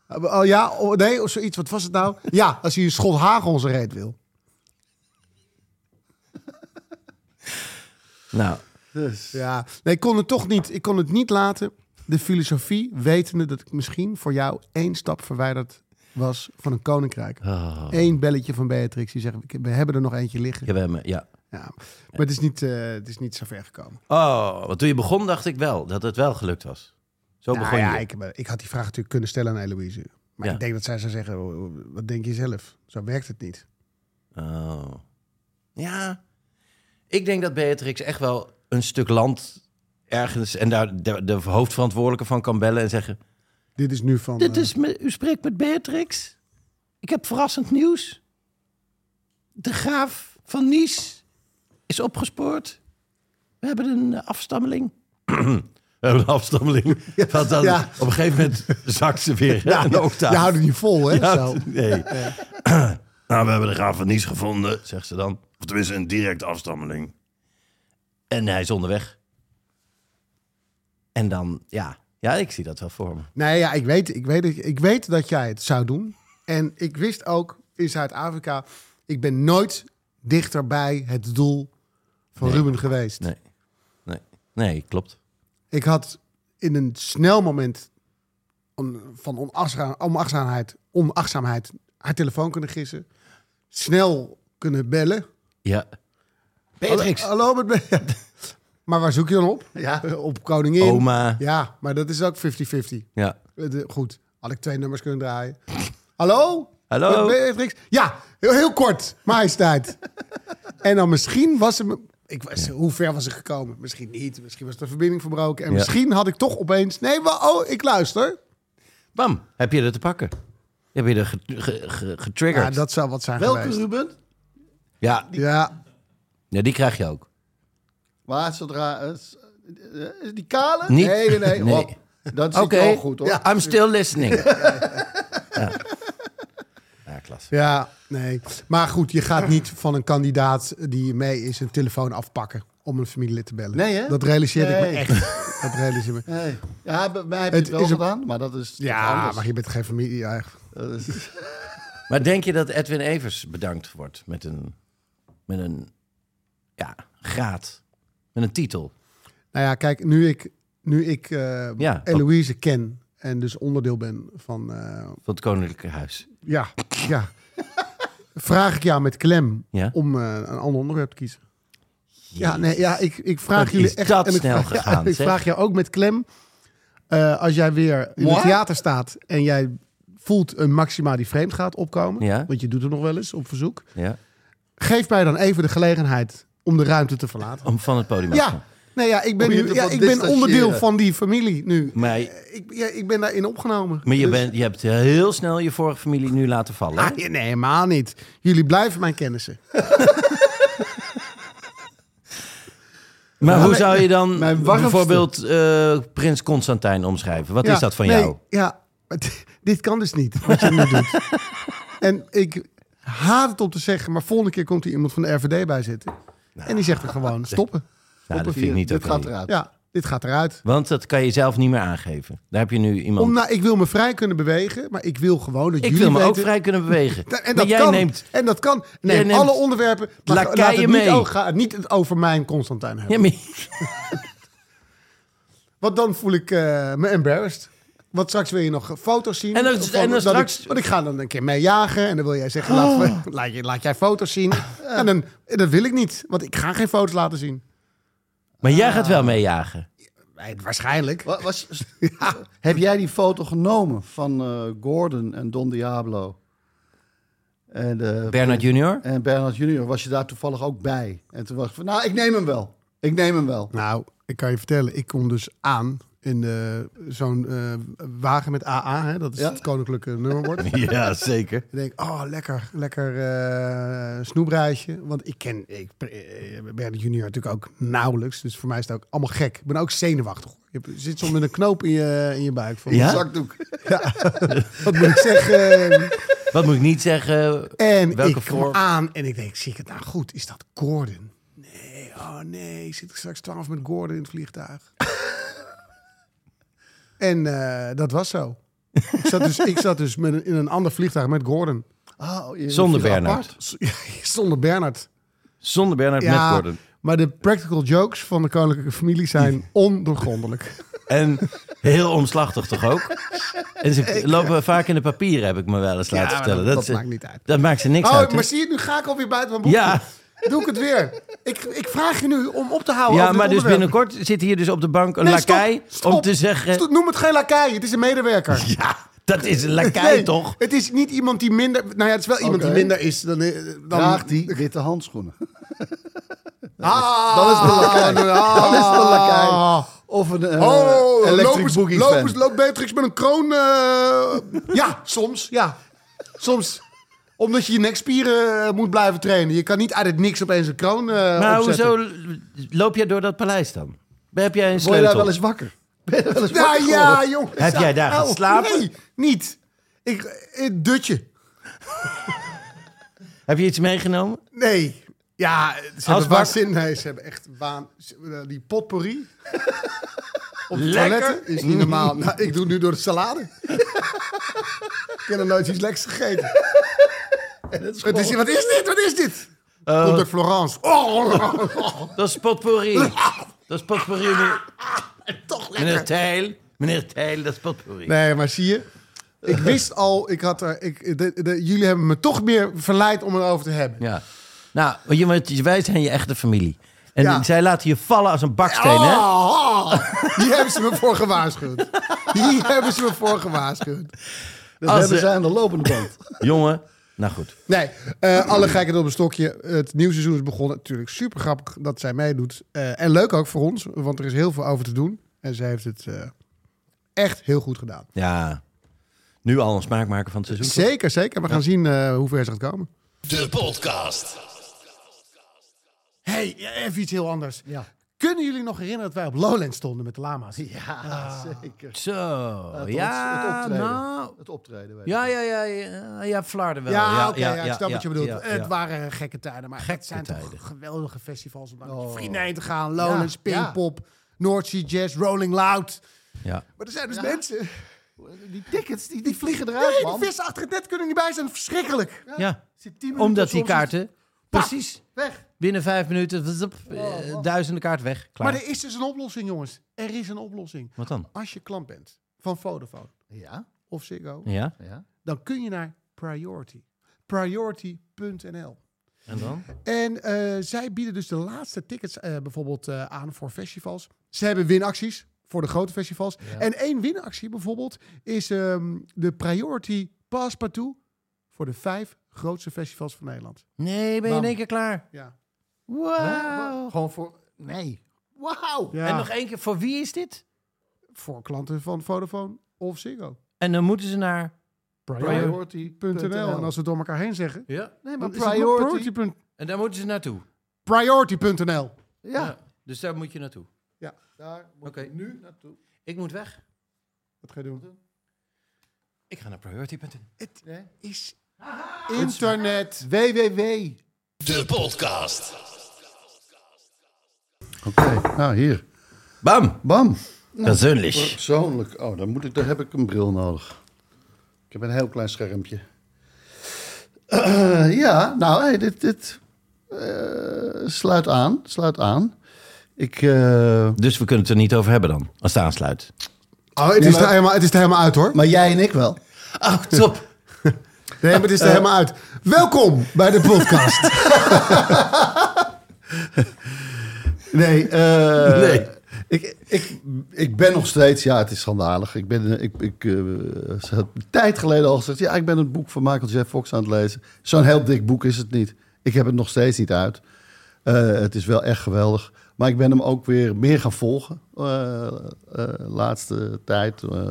Speaker 4: Oh ja, oh, nee, of zoiets. Wat was het nou? Ja, als hij een schot hagel onze reet wil.
Speaker 5: Nou,
Speaker 6: Dus.
Speaker 4: Ja, nee, ik kon het toch niet. Ik kon het niet laten. De filosofie, wetende dat ik misschien voor jou één stap verwijderd was van een koninkrijk. Eén belletje van Beatrix die zegt: we hebben er nog eentje liggen.
Speaker 5: je bent me, ja.
Speaker 4: Ja. Maar het is niet, eh, het is niet zo ver gekomen.
Speaker 5: Oh, want toen je begon dacht ik wel dat het wel gelukt was. Zo
Speaker 4: Nou
Speaker 5: begon
Speaker 4: ja,
Speaker 5: je.
Speaker 4: ik, heb- ik had die vraag natuurlijk kunnen stellen aan Eloise. Maar
Speaker 5: Ja.
Speaker 4: ik denk dat zij zou zeggen, "Oh, oh, wat denk je zelf? Zo werkt het niet.
Speaker 5: Oh. Ja. Ik denk dat Beatrix echt wel een stuk land ergens... en daar de, de hoofdverantwoordelijke van kan bellen en zeggen...
Speaker 4: Dit is nu van...
Speaker 5: Dit
Speaker 4: eh,
Speaker 5: is me- u spreekt met Beatrix. Ik heb verrassend nieuws. De graaf van Nice is opgespoord. We hebben een eh, afstammeling. We hebben een afstammeling. Want dan
Speaker 4: Ja.
Speaker 5: Op een gegeven moment zakt ze weer ja, een octaaf.
Speaker 4: je houdt het niet vol, hè?
Speaker 5: Ja,
Speaker 4: zo.
Speaker 5: nee. nou, we hebben de graaf van Nice gevonden, zegt ze dan. Of tenminste, een directe afstammeling. En hij is onderweg. En dan, ja. Ja, ik zie dat wel voor me.
Speaker 4: Nee, ja, ik weet, ik, weet, dat- ik weet dat jij het zou doen. En ik wist ook in Zuid-Afrika... Ik ben nooit dichter bij het doel van Ruben geweest.
Speaker 5: Nee. Nee, nee klopt.
Speaker 4: Ik had in een snel moment on- van onachtzaam- onachtzaamheid, onachtzaamheid haar telefoon kunnen gissen. Snel kunnen bellen.
Speaker 5: Ja.
Speaker 4: Hallo, hallo, met me. Maar waar zoek je dan op?
Speaker 6: Ja.
Speaker 4: Op koningin.
Speaker 5: Oma.
Speaker 4: Ja, maar dat is ook 50-50.
Speaker 5: Ja.
Speaker 4: Eh, de- Goed, had ik twee nummers kunnen draaien. Hallo?
Speaker 5: Hallo?
Speaker 4: Met Beatrix? Ja, heel, heel kort, majesteit. en dan misschien was ze... Ik was, Hoe ver was ze gekomen? Misschien niet. Misschien was de verbinding verbroken. En
Speaker 5: Ja.
Speaker 4: misschien had ik toch opeens... Nee, maar, oh, ik luister.
Speaker 5: Bam, heb je er te pakken. Heb je er ge- ge- ge- getriggerd.
Speaker 4: Ja,
Speaker 5: Ja,
Speaker 4: dat zou wat zijn
Speaker 6: Welke
Speaker 4: geweest.
Speaker 6: Ruben?
Speaker 5: ja.
Speaker 4: Ja,
Speaker 5: die krijg je ook.
Speaker 6: Maar zodra... eh, s- eh, die kale?
Speaker 5: Niet.
Speaker 6: Nee, nee, nee.
Speaker 5: Nee.
Speaker 6: Hop. Dat is
Speaker 5: Oké,
Speaker 6: wel goed, hoor.
Speaker 5: I'm still listening. ja. ja, klas.
Speaker 4: ja, nee. Maar goed, je gaat niet van een kandidaat die mee is een telefoon afpakken om een familielid te bellen.
Speaker 6: Nee, hè?
Speaker 4: Dat realiseer ik
Speaker 6: Nee.
Speaker 4: me echt. Dat realiseer ik me.
Speaker 6: Nee. Ja, bij mij heb je
Speaker 4: Het
Speaker 6: het, wel
Speaker 4: is een-
Speaker 6: gedaan, maar dat is
Speaker 4: Ja,
Speaker 6: anders.
Speaker 4: maar je bent geen familie eigenlijk.
Speaker 6: Dat is-
Speaker 5: Maar denk je dat Edwin Evers bedankt wordt met een, met een ja, graad? Met een titel?
Speaker 4: Nou ja, kijk, nu ik, nu ik eh,
Speaker 5: Ja,
Speaker 4: Eloïse ken en dus onderdeel ben van... eh,
Speaker 5: Van het Koninklijke Huis.
Speaker 4: ja, ja. Vraag ik jou met klem
Speaker 5: Ja.
Speaker 4: om eh, een ander onderwerp te kiezen. Ja, nee, ja ik, ik vraag
Speaker 5: Wat
Speaker 4: jullie
Speaker 5: is
Speaker 4: echt...
Speaker 5: dat
Speaker 4: en ik
Speaker 5: snel
Speaker 4: vraag, ja,
Speaker 5: gegaan,
Speaker 4: ik
Speaker 5: zeg.
Speaker 4: vraag jou ook met klem. eh, als jij weer in het
Speaker 6: Moi?
Speaker 4: theater staat en jij voelt een maxima die vreemd gaat opkomen...
Speaker 5: Ja.
Speaker 4: want je doet het nog wel eens op verzoek...
Speaker 5: Ja.
Speaker 4: geef mij dan even de gelegenheid om de ruimte te verlaten.
Speaker 5: Om van het podium af te
Speaker 4: Ja,
Speaker 5: gaan.
Speaker 4: nee, ja, ik ben,
Speaker 6: Om je
Speaker 4: nu-
Speaker 6: te
Speaker 4: ja,
Speaker 6: wat
Speaker 4: ik ben
Speaker 6: distancieren.
Speaker 4: onderdeel van die familie nu.
Speaker 5: Maar,
Speaker 4: Ik, ja, ik ben daarin opgenomen.
Speaker 5: maar je,
Speaker 4: Dus-
Speaker 5: bent, je hebt heel snel je vorige familie nu laten vallen. hè?
Speaker 4: Ah, nee, helemaal niet. Jullie blijven mijn kennissen.
Speaker 5: Maar hoe zou je dan
Speaker 6: mijn warmste-
Speaker 5: bijvoorbeeld eh, Prins Constantijn omschrijven? Wat
Speaker 4: Ja,
Speaker 5: is dat van
Speaker 4: nee,
Speaker 5: jou? Nou,
Speaker 4: Ja, maar dit- dit kan dus niet, wat je nu doet. En ik haat het om te zeggen, maar volgende keer komt er iemand van de RVD bij zitten. en die zegt er gewoon, stoppen.
Speaker 5: Nou, dat
Speaker 6: Hier,
Speaker 5: vind ik niet
Speaker 6: Dit
Speaker 5: oké.
Speaker 6: gaat eruit.
Speaker 4: Ja, dit gaat eruit.
Speaker 5: Want dat kan je zelf niet meer aangeven. Daar heb je nu iemand...
Speaker 4: Om, nou, ik wil me vrij kunnen bewegen, maar ik wil gewoon dat
Speaker 5: ik
Speaker 4: jullie
Speaker 5: wil me ook
Speaker 4: weten- Nou,
Speaker 5: vrij kunnen bewegen.
Speaker 4: En
Speaker 5: maar
Speaker 4: dat
Speaker 5: jij
Speaker 4: kan.
Speaker 5: neemt...
Speaker 4: en dat kan.
Speaker 5: Jij
Speaker 4: Neem
Speaker 5: neemt
Speaker 4: alle onderwerpen. Maar
Speaker 5: lakeien
Speaker 4: laat het
Speaker 5: mee.
Speaker 4: niet, ook gaan- niet het over mijn Constantijn hebben.
Speaker 5: Ja, maar-
Speaker 4: Want dan voel ik eh, me embarrassed. Want straks wil je nog foto's zien.
Speaker 5: En dan-
Speaker 4: van
Speaker 5: en dan
Speaker 4: dat
Speaker 5: straks- Oh.
Speaker 4: Ik, want ik ga dan een keer mee jagen. En dan wil jij zeggen, laat, we- laat, je, laat jij foto's zien. En dan, dat wil ik niet. Want ik ga geen foto's laten zien.
Speaker 5: Maar jij gaat wel meejagen.
Speaker 4: Eh, Waarschijnlijk.
Speaker 6: Wa- Was, Heb jij die foto genomen van eh, Gordon en Don Diablo? En, eh,
Speaker 7: Bernard Junior?
Speaker 6: en Bernard Junior, was je daar toevallig ook bij? En toen was ik van, nou, ik neem hem wel. Ik neem hem wel.
Speaker 4: Nou, ik kan je vertellen, ik kom dus aan in eh, zo'n eh, wagen met AA, hè, dat is
Speaker 6: Ja.
Speaker 4: het koninklijke nummerbord. ik
Speaker 5: Ja, zeker.
Speaker 4: denk, oh, lekker, lekker eh, snoepreisje. Want ik ken ik, eh, Bernard Junior natuurlijk ook nauwelijks, dus voor mij is het ook allemaal gek. Ik ben ook zenuwachtig. hoor. Je hebt- je zit soms met een knoop in je, in je buik. Van,
Speaker 5: Ja?
Speaker 4: Zakdoek. ja, wat moet ik zeggen?
Speaker 5: Wat moet ik niet zeggen?
Speaker 4: En
Speaker 5: Welke
Speaker 4: ik kom
Speaker 5: vorm?
Speaker 4: aan en ik denk, zie ik het nou goed? Is dat Gordon? Nee, oh nee, zit ik straks 12 met Gordon in het vliegtuig? en eh, dat was zo. Ik zat dus, ik zat dus met een- in een ander vliegtuig met Gordon.
Speaker 6: Ah, je-
Speaker 5: Zonder
Speaker 6: je-
Speaker 5: Bernard.
Speaker 4: S- Zonder Bernard.
Speaker 5: Zonder Bernard met Gordon.
Speaker 4: maar de practical jokes van de koninklijke familie zijn ondoorgrondelijk.
Speaker 5: En heel omslachtig toch ook? En ze lopen vaak in de papieren, heb ik me wel eens laten
Speaker 4: eh, maar
Speaker 5: vertellen.
Speaker 4: dat-
Speaker 5: ze-
Speaker 4: dat maakt niet uit.
Speaker 5: Dat maakt ze niks
Speaker 4: Oh,
Speaker 5: uit. hè?
Speaker 4: maar zie Oh, je, nu ga ik alweer buiten mijn boek.
Speaker 5: Ja,
Speaker 4: Doe ik het weer. Ik, ik vraag je nu om op te houden
Speaker 5: ja
Speaker 4: over dit
Speaker 5: maar dus
Speaker 4: onderwerp.
Speaker 5: binnenkort zit hier dus op de bank een
Speaker 4: Nee, stop,
Speaker 5: lakai
Speaker 4: stop.
Speaker 5: om te zeggen...
Speaker 4: Stop, noem het geen lakai, het is een medewerker.
Speaker 5: Ja, dat is een lakai
Speaker 4: Nee,
Speaker 5: toch?
Speaker 4: Het is niet iemand die minder. Nou ja, het is wel iemand die
Speaker 6: Oké.
Speaker 4: minder is dan. eh, dan
Speaker 6: Draagt die witte handschoenen.
Speaker 4: Ah,
Speaker 6: Dan is de lakai. Dan is de lakai.
Speaker 4: Ah.
Speaker 6: Of een eh,
Speaker 4: Oh,
Speaker 6: electric
Speaker 4: lopers,
Speaker 6: boogie
Speaker 4: lopers,
Speaker 6: fan.
Speaker 4: loopt Beatrix met een kroon. eh, ja, soms. Ja, soms. Omdat je je nekspieren eh, moet blijven trainen. Je kan niet uit het niks opeens een kroon. eh
Speaker 5: Maar
Speaker 4: opzetten.
Speaker 5: Nou, hoezo loop jij door dat paleis dan? Heb jij een
Speaker 6: Word je
Speaker 5: sleutel?
Speaker 6: daar wel eens wakker? Ben je daar wel eens wakker
Speaker 4: Nou ja,
Speaker 6: geworden?
Speaker 4: jongens.
Speaker 5: Heb jij daar
Speaker 4: Au,
Speaker 5: geslapen?
Speaker 4: Nee, niet. Ik, het dutje.
Speaker 5: Heb je iets meegenomen?
Speaker 4: Nee. Ja, ze hebben
Speaker 5: Asbak.
Speaker 4: waanzin. Nee, ze hebben echt waan... ze- eh, Die potpourri op de
Speaker 5: Lekker.
Speaker 4: toiletten is niet normaal. Nou, ik doe het nu door de salade. ik heb nog nooit iets lekkers gegeten. Wat is, wat is dit? Wat is dit?
Speaker 5: Eh.
Speaker 4: Komt uit Florence. Oh,
Speaker 5: Dat is potpourri. Dat is potpourri. meneer-
Speaker 4: toch
Speaker 5: Meneer
Speaker 4: lekker.
Speaker 5: Tijl. Meneer Tijl, dat is potpourri.
Speaker 4: Nee, maar zie je.
Speaker 5: Eh.
Speaker 4: Ik wist al, ik had er, ik, de- de- jullie hebben me toch meer verleid om erover te hebben.
Speaker 5: Ja. Nou, want je, want wij zijn je echte familie. En
Speaker 4: Ja.
Speaker 5: zij laten je vallen als een baksteen, hè?
Speaker 4: Oh, oh. Hier hebben ze me voor gewaarschuwd. Hier hebben ze me voor gewaarschuwd.
Speaker 6: Dat
Speaker 5: Als
Speaker 6: hebben
Speaker 5: ze-
Speaker 6: zij aan de lopende band.
Speaker 5: Jongen. Nou goed.
Speaker 4: Nee, eh, alle gekheid op een stokje. Het nieuwe seizoen is begonnen. Natuurlijk super grappig dat zij meedoet. Eh, en leuk ook voor ons, want er is heel veel over te doen. En zij heeft het eh, echt heel goed gedaan.
Speaker 5: Ja. Nu al een smaakmaker van het seizoen. toch?
Speaker 4: Zeker, zeker. We gaan zien eh, hoe ver ze gaat komen.
Speaker 8: De podcast.
Speaker 4: hey, even iets heel anders. Kunnen jullie nog herinneren dat wij op Lowland stonden met de lama's?
Speaker 6: Ja, Oh, zeker.
Speaker 5: Zo.
Speaker 6: Het,
Speaker 5: ja,
Speaker 6: het optreden.
Speaker 5: nou.
Speaker 6: Het optreden. weet
Speaker 5: Ja,
Speaker 6: ik.
Speaker 5: ja, ja. Ja, ja Vlaarden wel.
Speaker 4: Ja, oké, ja, ik snap wat je
Speaker 5: ja,
Speaker 4: bedoelt.
Speaker 5: ja,
Speaker 4: het
Speaker 5: ja.
Speaker 4: waren gekke tijden, Oh. maar
Speaker 5: Gekke
Speaker 4: het zijn
Speaker 5: tijden.
Speaker 4: toch geweldige festivals om naar met je vrienden heen te gaan. Lowlands,
Speaker 6: Ja, ja.
Speaker 4: Pinkpop, North Sea Jazz, Rolling Loud.
Speaker 5: Ja.
Speaker 4: Maar er zijn dus mensen
Speaker 6: Die tickets, die, die vliegen eruit,
Speaker 4: Nee,
Speaker 6: man.
Speaker 4: die vissen achter het net kunnen niet bij zijn. Verschrikkelijk.
Speaker 5: Ja.
Speaker 6: Zit tien minuten
Speaker 5: Omdat die
Speaker 6: soms-
Speaker 5: kaarten. Precies.
Speaker 6: Weg.
Speaker 5: Binnen vijf minuten. zup, eh, duizenden kaart weg. Klaar.
Speaker 4: Oh, Maar er is dus een oplossing, jongens. Er is een oplossing.
Speaker 5: Wat dan?
Speaker 4: Als je klant bent van Vodafone
Speaker 6: Ja,
Speaker 4: of Ziggo,
Speaker 5: Ja.
Speaker 6: ja.
Speaker 4: dan kun je naar Priority. Priority.nl.
Speaker 5: En dan?
Speaker 4: En eh, zij bieden dus de laatste tickets eh, bijvoorbeeld eh, aan voor festivals. Ze hebben winacties voor de grote festivals. En één winactie bijvoorbeeld is ehm, de Priority Passepartout voor de vijf grootste festivals van Nederland.
Speaker 5: Nee, ben je in
Speaker 4: Bam.
Speaker 5: één keer klaar.
Speaker 4: Ja.
Speaker 5: Wauw.
Speaker 6: Gewoon voor... Nee. Wauw.
Speaker 4: ja.
Speaker 5: En nog één keer. Voor wie is dit?
Speaker 4: voor klanten van Vodafone of Ziggo.
Speaker 5: En dan moeten ze naar...
Speaker 4: Priority.nl. En als we het door elkaar heen zeggen,
Speaker 5: Ja.
Speaker 6: Nee, maar
Speaker 4: dan is het
Speaker 6: priority...
Speaker 4: priority.nl.
Speaker 5: En daar moeten ze naartoe.
Speaker 4: Priority.nl.
Speaker 6: Ja.
Speaker 5: Dus daar moet je naartoe.
Speaker 4: Ja,
Speaker 6: Daar Ah. moet
Speaker 5: Oké.
Speaker 6: je nu naartoe.
Speaker 5: Ik moet weg.
Speaker 4: dat ga je doen.
Speaker 5: Ik ga naar priority.nl.
Speaker 4: Het is internet.
Speaker 6: www.
Speaker 8: De podcast.
Speaker 6: Oké, nou hier.
Speaker 5: Bam.
Speaker 6: Bam.
Speaker 5: Persoonlijk.
Speaker 6: Persoonlijk. Oh, dan, moet ik, dan heb ik een bril nodig. Ik heb een heel klein schermpje. Eh, ja, nou, hey, dit, dit eh, sluit aan. Sluit aan. Ik, eh,
Speaker 5: Dus we kunnen het er niet over hebben dan, als het aansluit.
Speaker 4: Oh, het,
Speaker 6: Nee,
Speaker 4: is
Speaker 6: maar-
Speaker 4: er helemaal, het is er helemaal uit hoor.
Speaker 6: maar jij en ik wel.
Speaker 5: Oh, top.
Speaker 4: Nee, maar het is er helemaal uit. Welkom bij de podcast.
Speaker 6: Nee, eh,
Speaker 5: Nee.
Speaker 6: Ik, ik, ik ben nog steeds, ja, het is schandalig. Ik ben, ik, ik eh, ze had een tijd geleden al gezegd, ja, ik ben het boek van Michael J. Fox aan het lezen. Zo'n heel dik boek is het niet. Ik heb het nog steeds niet uit. Eh, het is wel echt geweldig. Maar ik ben hem ook weer meer gaan volgen eh, eh, laatste tijd. eh,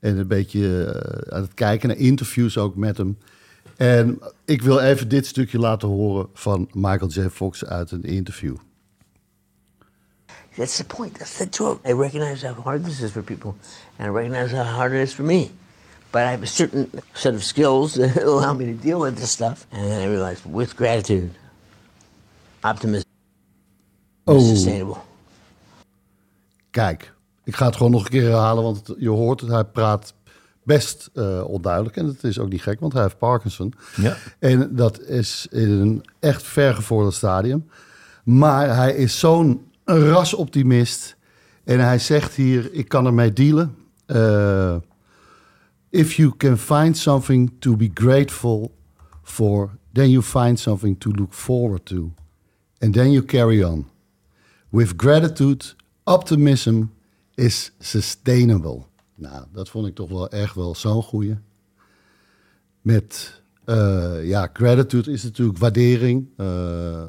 Speaker 6: en een beetje eh, aan het kijken naar interviews ook met hem. En ik wil even dit stukje laten horen van Michael J. Fox uit een interview.
Speaker 9: That's the point. That's the joke. I recognize how hard this is for people, and I recognize how hard it is for me. But I have a certain set of skills that allow me to deal with this stuff. And then I realized, with gratitude, optimism is sustainable.
Speaker 6: Kijk, ik ga het gewoon nog een keer herhalen, want het- je hoort het, hij praat best eh, onduidelijk. En dat is ook niet gek, want hij heeft Parkinson.
Speaker 5: Ja.
Speaker 6: En dat is in een echt vergevorderd stadium. Maar hij is zo'n rasoptimist. En hij zegt hier, ik kan ermee dealen. Eh, if you can find something to be grateful for, then you find something to look forward to. And then you carry on. With gratitude, optimism is sustainable. Nou, dat vond ik toch wel echt wel zo'n goeie. Met, eh, ja, gratitude is natuurlijk waardering, eh,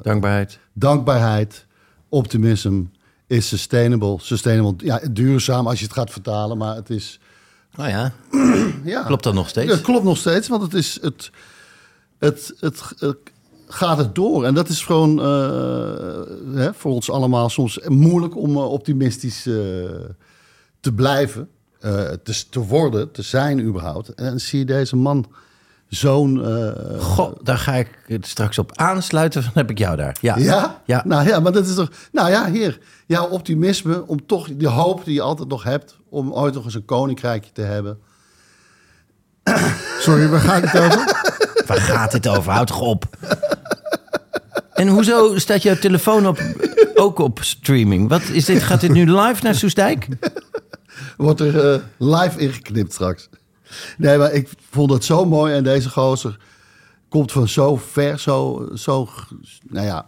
Speaker 5: Dankbaarheid.
Speaker 6: dankbaarheid, optimism is sustainable. Sustainable, ja, duurzaam als je het gaat vertalen, maar het is...
Speaker 5: Nou ja,
Speaker 6: Ja,
Speaker 5: klopt dat nog steeds?
Speaker 6: dat klopt nog steeds, want het is het, het, het, eh, gaat het door. En dat is gewoon eh, hè, voor ons allemaal soms moeilijk om eh, optimistisch eh, te blijven, eh, te, te worden, te zijn überhaupt. En dan zie je deze man zo'n... eh,
Speaker 5: Goh, daar ga ik het straks op aansluiten. Dan heb ik jou daar. Ja?
Speaker 6: ja?
Speaker 5: ja.
Speaker 6: nou ja, maar dat is toch... Nou ja, hier, jouw optimisme om toch die hoop die je altijd nog hebt... om ooit nog eens een koninkrijkje te hebben.
Speaker 4: Sorry, waar gaat het over?
Speaker 5: Waar gaat dit over? Houd toch op. En hoezo staat jouw telefoon op, ook op streaming? Wat is dit? Gaat dit nu live naar Soestdijk?
Speaker 6: Wordt er eh, live ingeknipt straks. Nee, maar ik vond dat zo mooi. En deze gozer komt van zo ver, zo, zo g- nou ja,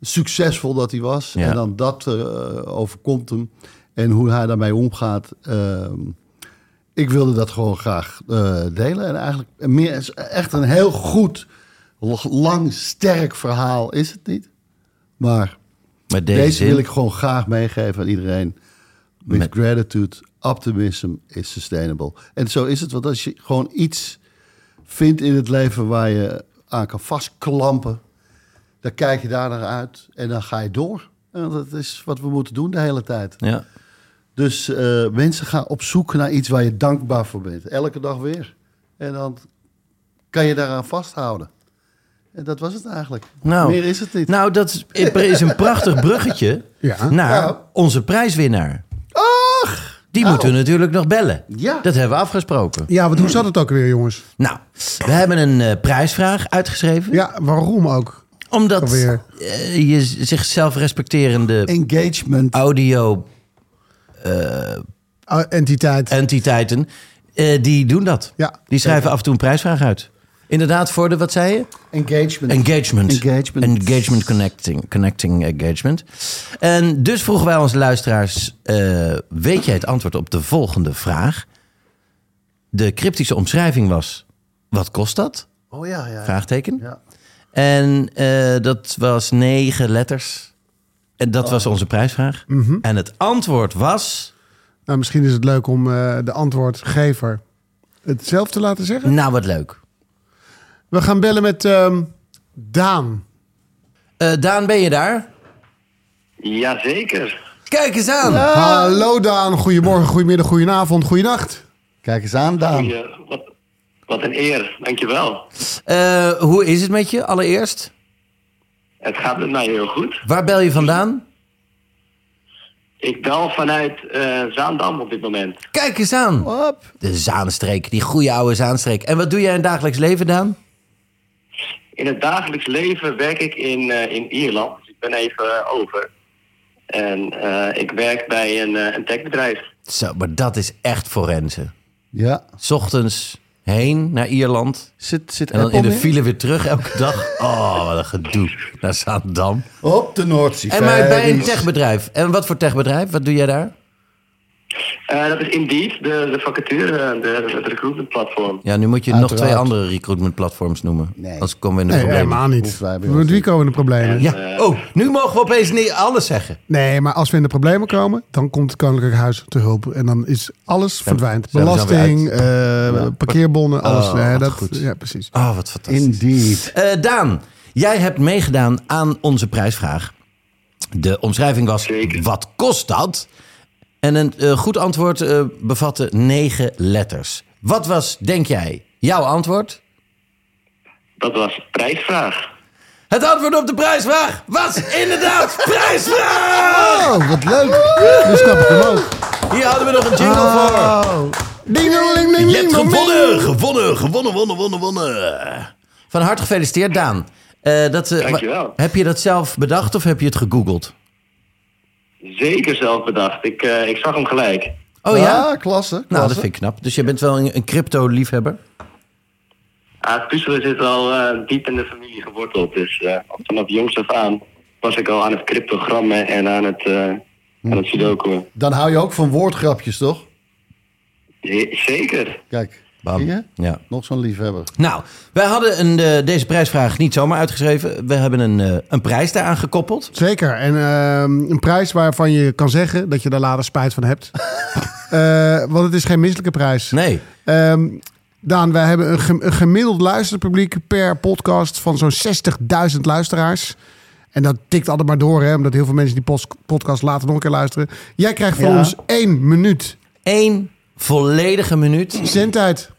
Speaker 6: succesvol dat hij was.
Speaker 5: Ja.
Speaker 6: En dan dat eh, overkomt hem. En hoe hij daarmee omgaat. Ehm, ik wilde dat gewoon graag eh, delen. En eigenlijk meer, is echt een heel goed, lang, sterk verhaal is het niet. Maar
Speaker 5: Maar deze,
Speaker 6: deze,
Speaker 5: zin-
Speaker 6: wil ik gewoon graag meegeven aan iedereen. With gratitude, optimism is sustainable. En zo is het, want als je gewoon iets vindt in het leven waar je aan kan vastklampen, dan kijk je daar naar uit en dan ga je door. En dat is wat we moeten doen de hele tijd.
Speaker 5: Ja.
Speaker 6: Dus eh, mensen gaan op zoek naar iets waar je dankbaar voor bent. Elke dag weer. En dan kan je daaraan vasthouden. En dat was het eigenlijk.
Speaker 5: Nou,
Speaker 6: Meer is het niet.
Speaker 5: Nou, dat is- er is een prachtig bruggetje
Speaker 4: Ja.
Speaker 5: naar
Speaker 6: Nou.
Speaker 5: onze prijswinnaar.
Speaker 6: Ach! Nou.
Speaker 5: Die moeten we natuurlijk nog bellen.
Speaker 6: Ja.
Speaker 5: Dat hebben we afgesproken.
Speaker 4: Ja, want hoe zat het ook weer, jongens?
Speaker 5: Nou, we hebben een eh, prijsvraag uitgeschreven.
Speaker 4: Ja, waarom ook?
Speaker 5: Omdat
Speaker 4: Alweer.
Speaker 5: eh, je z- zichzelf respecterende
Speaker 6: Engagement.
Speaker 4: Oh,
Speaker 5: audio-entiteiten,
Speaker 4: Ah, entiteit.
Speaker 5: eh, die doen dat.
Speaker 4: Ja.
Speaker 5: Die schrijven af en toe een prijsvraag uit. Inderdaad, voor de, wat zei je?
Speaker 6: Engagement.
Speaker 5: Engagement.
Speaker 6: Engagement.
Speaker 5: Engagement connecting. Connecting engagement. En dus vroegen wij onze luisteraars... eh, weet jij het antwoord op de volgende vraag? De cryptische omschrijving was... Wat kost dat?
Speaker 6: Oh ja, ja. ja.
Speaker 5: Vraagteken.
Speaker 6: Ja.
Speaker 5: En eh, dat was negen letters. En
Speaker 6: Oh.
Speaker 5: dat was onze prijsvraag.
Speaker 6: Mhm.
Speaker 5: En het antwoord was...
Speaker 4: Nou, misschien is het leuk om eh, de antwoordgever het zelf te laten zeggen.
Speaker 5: Nou, wat leuk.
Speaker 4: We gaan bellen met ehm, Daan.
Speaker 5: Eh, Daan, ben je daar?
Speaker 10: Jazeker.
Speaker 5: Kijk eens aan.
Speaker 4: Hallo Daan, goedemorgen, goedemiddag, goedenavond, goedenacht.
Speaker 6: Kijk eens aan, Daan.
Speaker 10: Je, wat, wat een eer, dankjewel.
Speaker 5: Eh, hoe is het met je allereerst?
Speaker 10: Het gaat met mij heel goed.
Speaker 5: Waar bel je vandaan?
Speaker 10: Ik bel vanuit eh, Zaandam op dit moment.
Speaker 5: Kijk eens aan.
Speaker 6: Hop.
Speaker 5: De Zaanstreek, die goede oude Zaanstreek. En wat doe jij in het dagelijks leven, Daan?
Speaker 10: In het dagelijks leven werk ik in, eh, in Ierland. Dus ik ben even eh, over. En eh, ik werk bij een, eh, een techbedrijf.
Speaker 5: Zo, maar dat is echt forense.
Speaker 6: Ja,
Speaker 5: S ochtends heen naar Ierland.
Speaker 6: Zit, zit
Speaker 5: En dan
Speaker 6: Apple
Speaker 5: in de
Speaker 6: mee?
Speaker 5: file weer terug elke dag. Oh, wat een gedoe. Naar Zaandam.
Speaker 6: Op de Noordzee.
Speaker 5: En maar bij een techbedrijf. En wat voor techbedrijf? Wat doe jij daar?
Speaker 10: Eh, dat is Indeed, de, de vacature, eh, de, het recruitment platform.
Speaker 5: Ja, nu moet je nog
Speaker 6: Uiteraard.
Speaker 5: twee andere recruitment platforms noemen.
Speaker 6: Nee.
Speaker 5: Anders komen we in de
Speaker 4: Nee,
Speaker 5: problemen.
Speaker 4: helemaal niet.
Speaker 6: Hoeft wij bij
Speaker 4: Met
Speaker 6: ons
Speaker 4: wie
Speaker 6: niet.
Speaker 4: komen de problemen?
Speaker 5: Ja. Oh, nu mogen we opeens niet alles zeggen.
Speaker 4: Nee, maar als we in de problemen komen, dan komt het Koninklijk Huis te hulp. En dan is alles verdwijnt.
Speaker 5: zijn we dan weer
Speaker 4: Belasting, eh, parkeerbonnen, alles.
Speaker 5: Oh,
Speaker 4: Nee,
Speaker 5: wat
Speaker 4: dat,
Speaker 5: goed.
Speaker 4: Ja, precies.
Speaker 5: Oh, wat fantastisch.
Speaker 6: Indeed.
Speaker 5: Eh, Daan, jij hebt meegedaan aan onze prijsvraag. De omschrijving was:
Speaker 10: Zeker.
Speaker 5: wat kost dat? En een eh, goed antwoord eh, bevatte negen letters. Wat was, denk jij, jouw antwoord?
Speaker 10: Dat was prijsvraag.
Speaker 5: Het antwoord op de prijsvraag was inderdaad prijsvraag!
Speaker 4: Oh, wat leuk. Nu snap ik hem ook. Oh.
Speaker 5: Hier hadden we nog een jingle voor.
Speaker 4: Dingelingeling,
Speaker 5: Je hebt gewonnen, gewonnen, gewonnen, gewonnen, gewonnen, gewonnen. Van harte gefeliciteerd, Daan. Eh dat, eh,
Speaker 10: Dankjewel.
Speaker 5: wa- Heb je dat zelf bedacht of heb je het gegoogeld?
Speaker 10: Zeker zelf bedacht. Ik, eh, ik zag hem gelijk.
Speaker 5: Oh ja?
Speaker 6: klasse.
Speaker 5: Nou, dat
Speaker 6: klasse.
Speaker 5: vind ik knap. Dus je bent wel een, een crypto-liefhebber?
Speaker 10: Ah, het puzzelen zit al eh, diep in de familie geworteld. Dus eh, vanaf jongs af aan was ik al aan het cryptogrammen en aan het, eh aan het sudoku.
Speaker 6: Dan hou je ook van woordgrapjes, toch?
Speaker 10: Ze- Zeker.
Speaker 6: Kijk.
Speaker 5: Bam.
Speaker 6: Zie je?
Speaker 5: Ja.
Speaker 6: Nog zo'n liefhebber.
Speaker 5: Nou, wij hadden een, eh, deze prijsvraag niet zomaar uitgeschreven. We hebben een, eh, een prijs daaraan gekoppeld.
Speaker 4: Zeker. En ehm, een prijs waarvan je kan zeggen dat je daar later spijt van hebt. Eh, want het is geen misselijke prijs.
Speaker 5: Nee.
Speaker 4: Ehm, Daan, wij hebben een, gem- een gemiddeld luisterpubliek per podcast van zo'n 60.000 luisteraars. En dat tikt altijd maar door, hè, omdat heel veel mensen die pos- podcast later nog een keer luisteren. Jij krijgt van
Speaker 6: Ja.
Speaker 4: ons één minuut
Speaker 5: Eén volledige minuut.
Speaker 4: zendtijd.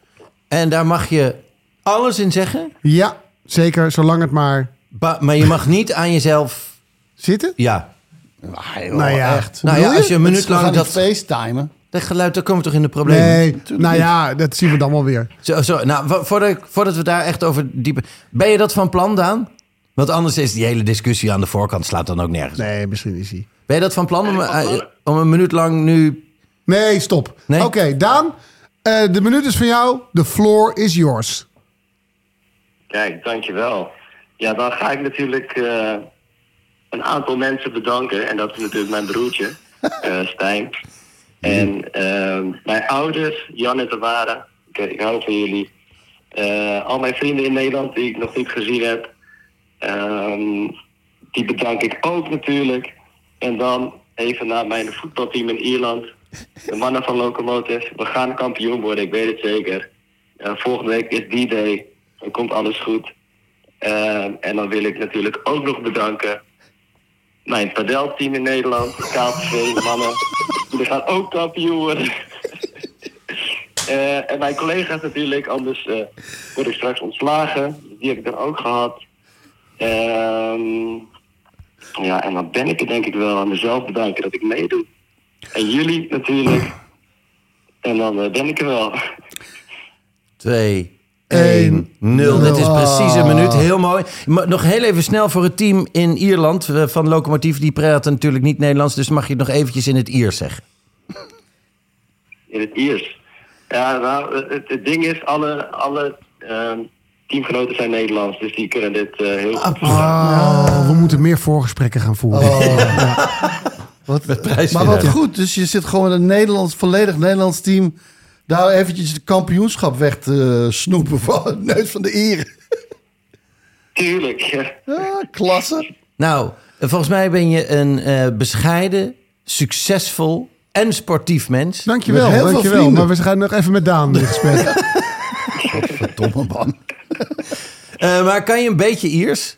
Speaker 5: En daar mag je alles in zeggen.
Speaker 4: Ja, zeker, zolang het maar
Speaker 5: ba- maar je mag niet aan jezelf...
Speaker 4: zitten.
Speaker 5: Ja, Ah,
Speaker 4: nou ja,
Speaker 6: echt.
Speaker 5: Nou ja, als je een minuut
Speaker 6: We
Speaker 5: lang
Speaker 6: gaan
Speaker 5: dat,
Speaker 6: dat... facetimen.
Speaker 5: dat geluid, dan komen we toch in de problemen.
Speaker 4: Nee, nou ja, dat zien we dan wel weer.
Speaker 5: Zo, zo, nou, vo- voordat, ik- voordat we daar echt over diepen... Ben je dat van plan, Daan? Want anders is die hele discussie aan de voorkant slaat dan ook nergens. op.
Speaker 4: Nee, misschien is hij.
Speaker 5: Ben je dat van plan om, eh, om een minuut lang nu...
Speaker 4: Nee, stop.
Speaker 5: Nee?
Speaker 4: Oké, Daan, eh, de minuut is van jou. The floor is yours.
Speaker 10: Kijk, dankjewel. Ja, dan ga ik natuurlijk eh, een aantal mensen bedanken. En dat is natuurlijk mijn broertje, eh, Stijn. En ehm, mijn ouders, Jan en Tamara. Ik, ik hou van jullie. Eh, al mijn vrienden in Nederland die ik nog niet gezien heb. Ehm, die bedank ik ook natuurlijk. En dan even naar mijn voetbalteam in Ierland. De mannen van Locomotive. We gaan kampioen worden, ik weet het zeker. Eh, volgende week is die day. Dan komt alles goed. Eh, en dan wil ik natuurlijk ook nog bedanken mijn padelteam in Nederland. KPV, mannen. Die gaan ook kampioen worden. Eh, en mijn collega's natuurlijk, anders eh, word ik straks ontslagen. Dus Die heb ik dan ook gehad. Ehm, ja, en dan ben ik er denk ik wel aan mezelf bedanken dat ik meedoe. En jullie natuurlijk. En dan eh, ben ik er wel.
Speaker 5: 2, 1, 0. Dit is precies een
Speaker 4: Ah.
Speaker 5: minuut. Heel mooi. Maar nog heel even snel voor het team in Ierland eh, van Locomotief. Die praten natuurlijk niet Nederlands, dus mag je het nog eventjes in het Iers zeggen.
Speaker 10: In het Iers. Ja, nou, het, het ding is, alle, alle ehm, teamgenoten zijn Nederlands, dus die kunnen dit eh, heel goed.
Speaker 4: Oh, we moeten meer voorgesprekken gaan voeren.
Speaker 5: Oh.
Speaker 6: Wat,
Speaker 5: prijs
Speaker 6: maar wat
Speaker 5: winnen.
Speaker 6: goed. Dus je zit gewoon met een Nederlands, volledig Nederlands team... daar eventjes het kampioenschap weg te snoepen van de neus van de Ieren.
Speaker 10: Tuurlijk. ja.
Speaker 6: Ja, klasse.
Speaker 5: Nou, eh, volgens mij ben je een eh, bescheiden, succesvol en sportief mens.
Speaker 4: Dankjewel,
Speaker 6: Met heel veel
Speaker 4: dankjewel.
Speaker 6: vrienden.
Speaker 4: Maar we gaan nog even met Daan in gesprek.
Speaker 6: Domme man.
Speaker 5: Eh, maar kan je een beetje Iers?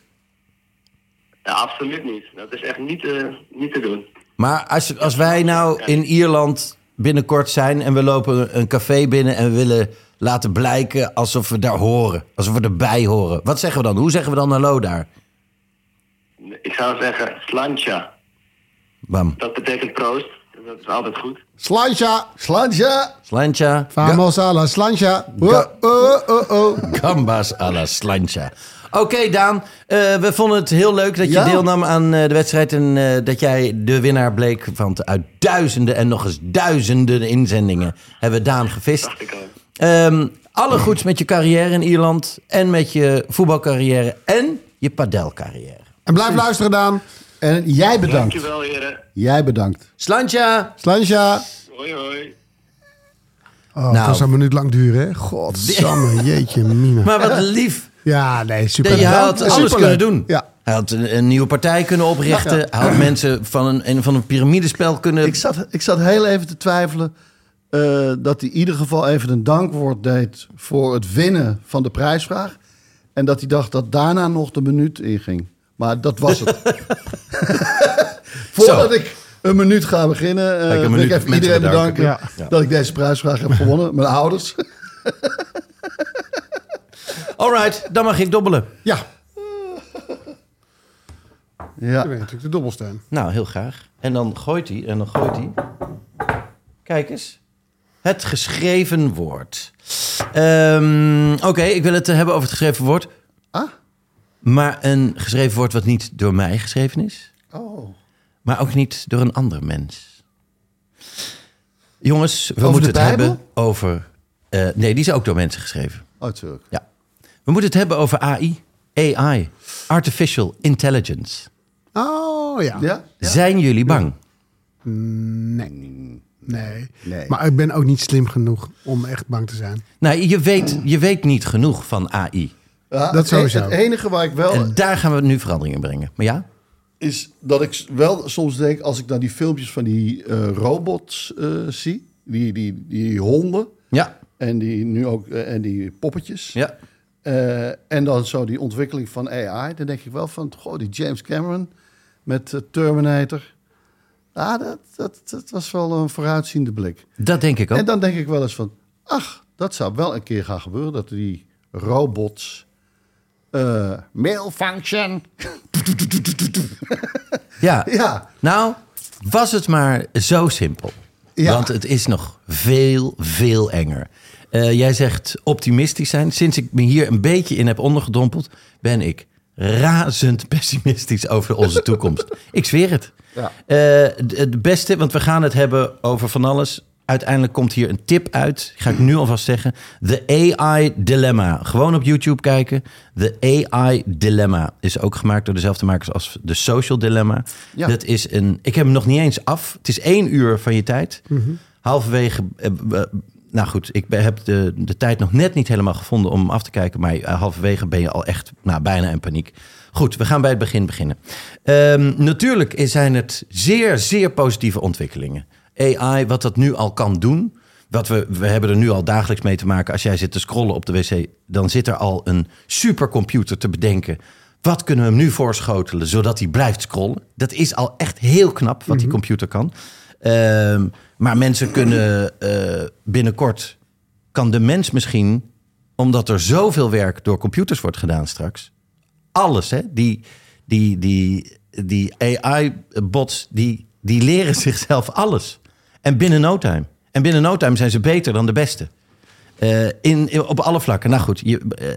Speaker 10: Ja, absoluut niet. Dat is echt niet, eh, niet te doen.
Speaker 5: Maar als, als wij nou in Ierland binnenkort zijn en we lopen een café binnen en we willen laten blijken alsof we daar horen, alsof we erbij horen. Wat zeggen we dan? Hoe zeggen we dan hallo daar?
Speaker 10: Ik zou zeggen, slantja.
Speaker 5: Bam.
Speaker 10: Dat betekent proost. Dat is altijd goed.
Speaker 4: Slansja,
Speaker 6: Slantje.
Speaker 5: Slantja.
Speaker 4: vamos a la slansja. Oh, oh, oh, oh.
Speaker 5: Gambas à la slantja. Oké, Daan. eh, we vonden het heel leuk dat je
Speaker 6: Ja.
Speaker 5: deelnam aan eh, de wedstrijd. En eh, dat jij de winnaar bleek. Want uit duizenden en nog eens duizenden inzendingen hebben we Daan gevist.
Speaker 10: Dacht ik al.
Speaker 5: Ehm, alle goeds met je carrière in Ierland. En met je voetbalcarrière. En je padelcarrière.
Speaker 4: En blijf luisteren, Daan.
Speaker 6: En jij bedankt.
Speaker 10: Dankjewel, heren.
Speaker 6: Jij bedankt.
Speaker 5: Slantja!
Speaker 4: Slansja.
Speaker 10: Hoi, hoi.
Speaker 4: Oh,
Speaker 5: Nou.
Speaker 4: Het was een minuut lang duren, hè? Godsamme, jeetje mina.
Speaker 5: Maar wat lief.
Speaker 4: Ja, nee, super.
Speaker 5: Dat je
Speaker 4: bedankt.
Speaker 5: had alles
Speaker 4: Superleuk.
Speaker 5: kunnen doen.
Speaker 4: Ja.
Speaker 5: Hij had een, een nieuwe partij kunnen oprichten. Hij had mensen van een, een, van een piramidespel kunnen...
Speaker 6: Ik zat, ik zat heel even te twijfelen eh, dat hij in ieder geval even een dankwoord deed voor het winnen van de prijsvraag. En dat hij dacht dat daarna nog de minuut inging. Maar dat was het. Voordat ik een minuut ga beginnen, eh
Speaker 5: ik een
Speaker 6: wil
Speaker 5: minuut
Speaker 6: ik even
Speaker 5: mensen
Speaker 6: iedereen
Speaker 5: bedanken.
Speaker 6: bedanken dat ik deze prijsvraag heb gewonnen. Mijn ouders.
Speaker 5: Alright, dan mag ik dobbelen.
Speaker 4: Ja,
Speaker 6: Ja.
Speaker 4: dat weet natuurlijk de dobbelsteun.
Speaker 5: Nou, heel graag. En dan gooit hij, en dan gooit hij. Kijk eens. Het geschreven woord. Ehm, Oké, ik wil het eh, hebben over het geschreven woord.
Speaker 6: Ah.
Speaker 5: Maar een geschreven woord wat niet door mij geschreven is.
Speaker 6: Oh.
Speaker 5: Maar ook niet door een ander mens. Jongens, we
Speaker 6: Over
Speaker 5: moeten
Speaker 6: de
Speaker 5: het
Speaker 6: Bijbel?
Speaker 5: hebben over... eh, nee, die is ook door mensen geschreven.
Speaker 6: Oh, tuurlijk.
Speaker 5: Ja. We moeten het hebben over AI. AI. Artificial Intelligence.
Speaker 4: Oh ja.
Speaker 6: Ja?
Speaker 5: Zijn jullie bang?
Speaker 4: Nee.
Speaker 6: Nee.
Speaker 4: Maar ik ben ook niet slim genoeg om echt bang te zijn.
Speaker 5: Nou, je weet, je weet niet genoeg van AI.
Speaker 6: Ja,
Speaker 4: Dat
Speaker 6: het, e-
Speaker 4: sowieso.
Speaker 6: het enige waar ik wel
Speaker 5: En daar gaan we nu verandering in brengen. Maar ja?
Speaker 6: is dat ik s- wel soms denk, als ik dan die filmpjes van die eh, robots eh, zie, die, die, die honden
Speaker 5: Ja.
Speaker 6: en die nu ook eh, en die poppetjes,
Speaker 5: Ja.
Speaker 6: eh, en dan zo die ontwikkeling van AI, dan denk ik wel van, goh, die James Cameron met eh, Terminator, ah, dat, dat, dat was wel een vooruitziende blik.
Speaker 5: Dat denk ik
Speaker 6: En
Speaker 5: ook.
Speaker 6: dan denk ik wel eens van, ach, dat zou wel een keer gaan gebeuren, dat die robots eh malfunction,
Speaker 5: Ja.
Speaker 6: ja.
Speaker 5: Nou, was het maar zo simpel.
Speaker 6: Ja.
Speaker 5: Want het is nog veel, veel enger. Eh, jij zegt optimistisch zijn. Sinds ik me hier een beetje in heb ondergedompeld, ben ik razend pessimistisch over onze toekomst. ik zweer het.
Speaker 6: Ja.
Speaker 5: Eh, d- het beste, want we gaan het hebben over van alles. Uiteindelijk komt hier een tip uit. Ga ik nu alvast zeggen. The AI Dilemma. Gewoon op YouTube kijken. The AI Dilemma is ook gemaakt door dezelfde makers als The Social Dilemma.
Speaker 6: Ja.
Speaker 5: Dat is een. Ik heb hem nog niet eens af. Het is één uur van je tijd. Halverwege. eh, eh, nou goed, ik ben- heb de, de tijd nog net niet helemaal gevonden om hem af te kijken. Maar eh, halverwege ben je al echt nou, bijna in paniek. Goed, we gaan bij het begin beginnen. Ehm, natuurlijk is- zijn het zeer, zeer positieve ontwikkelingen. AI, wat dat nu al kan doen. Wat we, we hebben er nu al dagelijks mee te maken. Als jij zit te scrollen op de wc, dan zit er al een supercomputer te bedenken. Wat kunnen we hem nu voorschotelen, zodat hij blijft scrollen? Dat is al echt heel knap wat die computer kan. Ehm, maar mensen kunnen eh, binnenkort, kan de mens misschien, omdat er zoveel werk door computers wordt gedaan straks, alles, hè? Die, die, die, die AI-bots, die, die leren zichzelf alles. En binnen no time. En binnen no time zijn ze beter dan de beste. Eh, in, in- op alle vlakken. Nou goed, je, eh,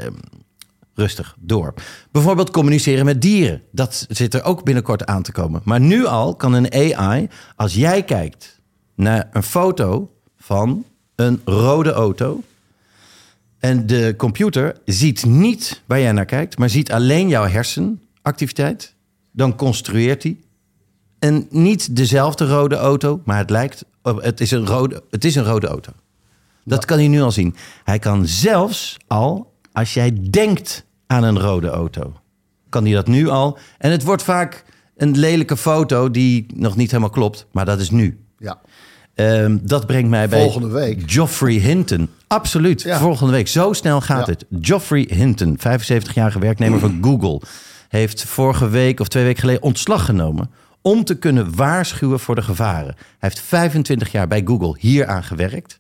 Speaker 5: rustig door. Bijvoorbeeld communiceren met dieren. Dat zit er ook binnenkort aan te komen. Maar nu al kan een AI, als jij kijkt naar een foto van een rode auto. En de computer ziet niet waar jij naar kijkt, maar ziet alleen jouw hersenactiviteit. Dan construeert hij een niet dezelfde rode auto, maar het lijkt op, het is een rode, het is een rode auto. Dat kan hij nu al zien. Hij kan zelfs al, als jij denkt aan een rode auto, kan hij dat nu al. En het wordt vaak een lelijke foto die nog niet helemaal klopt, maar dat is nu.
Speaker 6: Ja.
Speaker 5: Ehm, dat brengt mij bij...
Speaker 6: Volgende week.
Speaker 5: Geoffrey Hinton. Absoluut.
Speaker 6: Ja.
Speaker 5: Volgende week. Zo snel gaat
Speaker 6: Ja.
Speaker 5: het. Geoffrey Hinton, 75-jarige werknemer van Google... heeft vorige week of twee weken geleden ontslag genomen... om te kunnen waarschuwen voor de gevaren. Hij heeft 25 jaar bij Google hieraan gewerkt.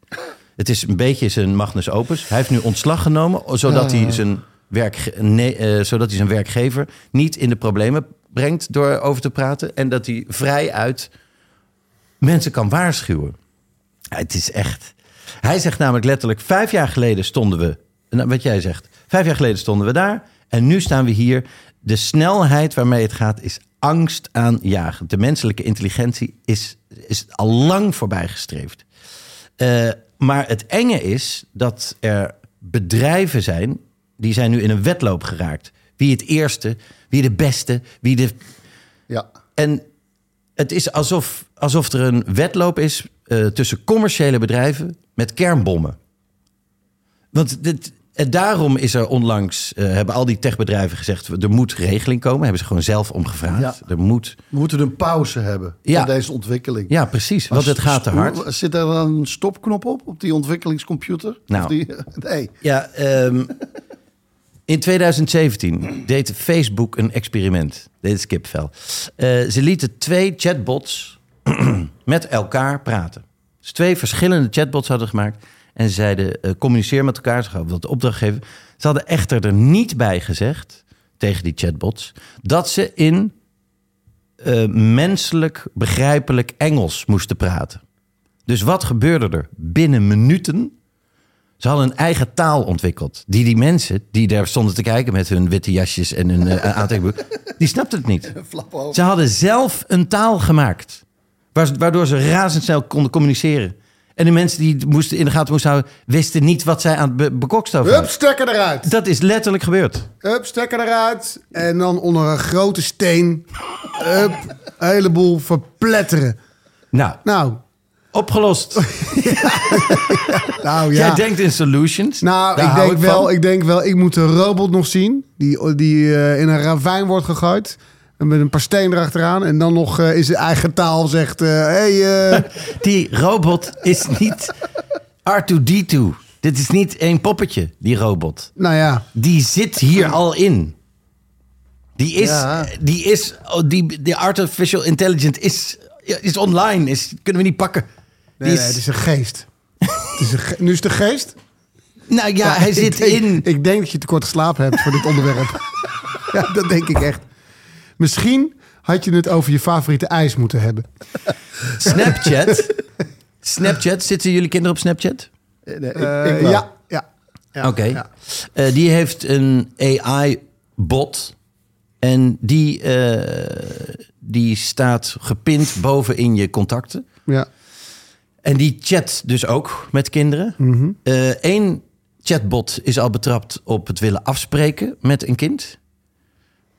Speaker 5: Het is een beetje zijn magnus opus. Hij heeft nu ontslag genomen, zodat, hij, zijn werk, nee, eh, zodat hij zijn werkgever... niet in de problemen brengt door over te praten... en dat hij vrij uit mensen kan waarschuwen. Ja, Het is echt. Hij zegt namelijk letterlijk: vijf jaar geleden stonden we. nou, wat jij zegt. Vijf jaar geleden stonden we daar. En nu staan we hier. De snelheid waarmee het gaat is angst aanjagend. De menselijke intelligentie is, is al lang voorbijgestreefd. Eh, Maar het enge is dat er bedrijven zijn... die zijn nu in een wedloop geraakt. Wie het eerste, wie de beste, wie de...
Speaker 6: Ja.
Speaker 5: En het is alsof, alsof er een wedloop is eh, tussen commerciële bedrijven met kernbommen. Want dit, en daarom is er onlangs, eh, hebben al die techbedrijven gezegd... er moet regeling komen, hebben ze gewoon zelf om gevraagd.
Speaker 6: Ja.
Speaker 5: Er moet...
Speaker 6: We moeten een pauze hebben
Speaker 5: Ja.
Speaker 6: van deze ontwikkeling.
Speaker 5: Ja, precies, want het gaat te hard.
Speaker 6: Hoe- Zit er dan een stopknop op, op die ontwikkelingscomputer?
Speaker 5: Nou.
Speaker 6: Of die, nee.
Speaker 5: Ja, ehm, in 2017 deed Facebook een experiment. Deed Skipvel. Eh ze lieten twee chatbots met elkaar praten. Dus twee verschillende chatbots hadden gemaakt. En ze zeiden, eh, communiceer met elkaar. Ze hadden wat opdracht geven. Ze hadden echter er niet bij gezegd, tegen die chatbots... dat ze in eh, menselijk, begrijpelijk Engels moesten praten. Dus wat gebeurde er? Binnen minuten ze hadden een eigen taal ontwikkeld. Die die mensen, die daar stonden te kijken met hun witte jasjes en hun eh, aantekenboek, die snapten het niet. Ze hadden zelf een taal gemaakt. waar- Waardoor ze razendsnel konden communiceren. En de mensen die het moesten in de gaten moesten houden, wisten niet wat zij aan het be- bekokstoven
Speaker 4: Hup,
Speaker 5: hadden.
Speaker 4: stekker eruit.
Speaker 5: Dat is letterlijk gebeurd.
Speaker 4: Hup, stekker eruit. En dan onder een grote steen. Hup, een heleboel verpletteren.
Speaker 5: Nou,
Speaker 4: Nou,
Speaker 5: opgelost.
Speaker 4: nou ja.
Speaker 5: Jij denkt in solutions.
Speaker 4: nou,
Speaker 5: Daar
Speaker 4: ik
Speaker 5: hou
Speaker 4: denk,
Speaker 5: van.
Speaker 4: wel, ik denk wel, ik moet een robot nog zien. Die, die eh, in een ravijn wordt gegooid. En met een paar steen erachteraan. En dan nog eh, in zijn eigen taal zegt... eh, hey, eh,
Speaker 5: Die robot is niet R2D2. Dit is niet één poppetje, die robot.
Speaker 4: nou ja.
Speaker 5: die zit hier al in. Die is,
Speaker 6: Ja.
Speaker 5: die is, oh, die, die artificial intelligence is, is online, is, kunnen we niet pakken. Die
Speaker 4: Nee,
Speaker 5: is-
Speaker 4: nee, het is een geest. het is een ge- nu is het een geest?
Speaker 5: nou ja, hij
Speaker 4: ik
Speaker 5: zit
Speaker 4: denk-
Speaker 5: in.
Speaker 4: Ik denk dat je tekort geslapen hebt voor dit onderwerp. ja, dat denk ik echt. Misschien had je het over je favoriete ijs moeten hebben.
Speaker 5: Snapchat. Snapchat, zitten jullie kinderen op Snapchat?
Speaker 6: Nee, ik,
Speaker 4: Eh,
Speaker 6: ik wel.
Speaker 4: ja, ja. ja,
Speaker 5: Oké.
Speaker 4: ja.
Speaker 5: Eh, die heeft een AI-bot. En die, eh, die staat gepind bovenin je contacten.
Speaker 4: ja.
Speaker 5: En die chat dus ook met kinderen.
Speaker 6: Mhm.
Speaker 5: Eén chatbot is al betrapt op het willen afspreken met een kind.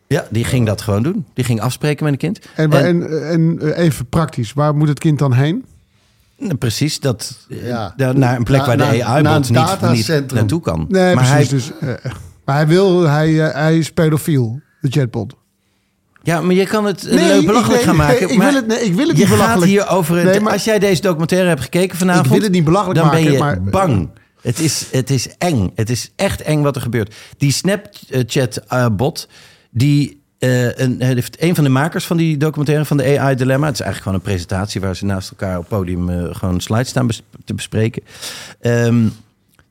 Speaker 5: Ja, die ging dat gewoon doen. Die ging afspreken met een kind.
Speaker 4: En, waar- en, en, eh, even praktisch, waar moet het kind dan heen?
Speaker 5: nou, precies, dat, eh,
Speaker 6: Ja.
Speaker 5: daar- naar een plek
Speaker 6: Na-
Speaker 5: waar de
Speaker 6: na- naar
Speaker 5: AI-bot
Speaker 6: een
Speaker 5: niet, niet
Speaker 6: datacentrum.
Speaker 5: naartoe kan.
Speaker 4: Nee,
Speaker 5: maar
Speaker 4: precies.
Speaker 5: hij,
Speaker 4: dus, eh, maar hij wil, hij, eh, hij is pedofiel, de chatbot.
Speaker 5: ja, maar je kan het eh, belachelijk
Speaker 4: nee,
Speaker 5: gaan
Speaker 4: nee,
Speaker 5: maken.
Speaker 4: ik
Speaker 5: maar
Speaker 4: wil het- nee, ik wil het
Speaker 5: je
Speaker 4: niet belachelijk.
Speaker 5: Gaat hier over een,
Speaker 4: Nee, maar-
Speaker 5: als jij deze documentaire hebt gekeken vanavond...
Speaker 4: Ik wil het niet belachelijk
Speaker 5: dan ben
Speaker 4: maken,
Speaker 5: je
Speaker 4: maar-
Speaker 5: bang. Het is, het is eng. Het is echt eng wat er gebeurt. Die Snapchat-bot, die eh, een, heeft een van de makers van die documentaire van de AI Dilemma. Het is eigenlijk gewoon een presentatie waar ze naast elkaar op het podium eh, gewoon slides staan bes- te bespreken. Ehm,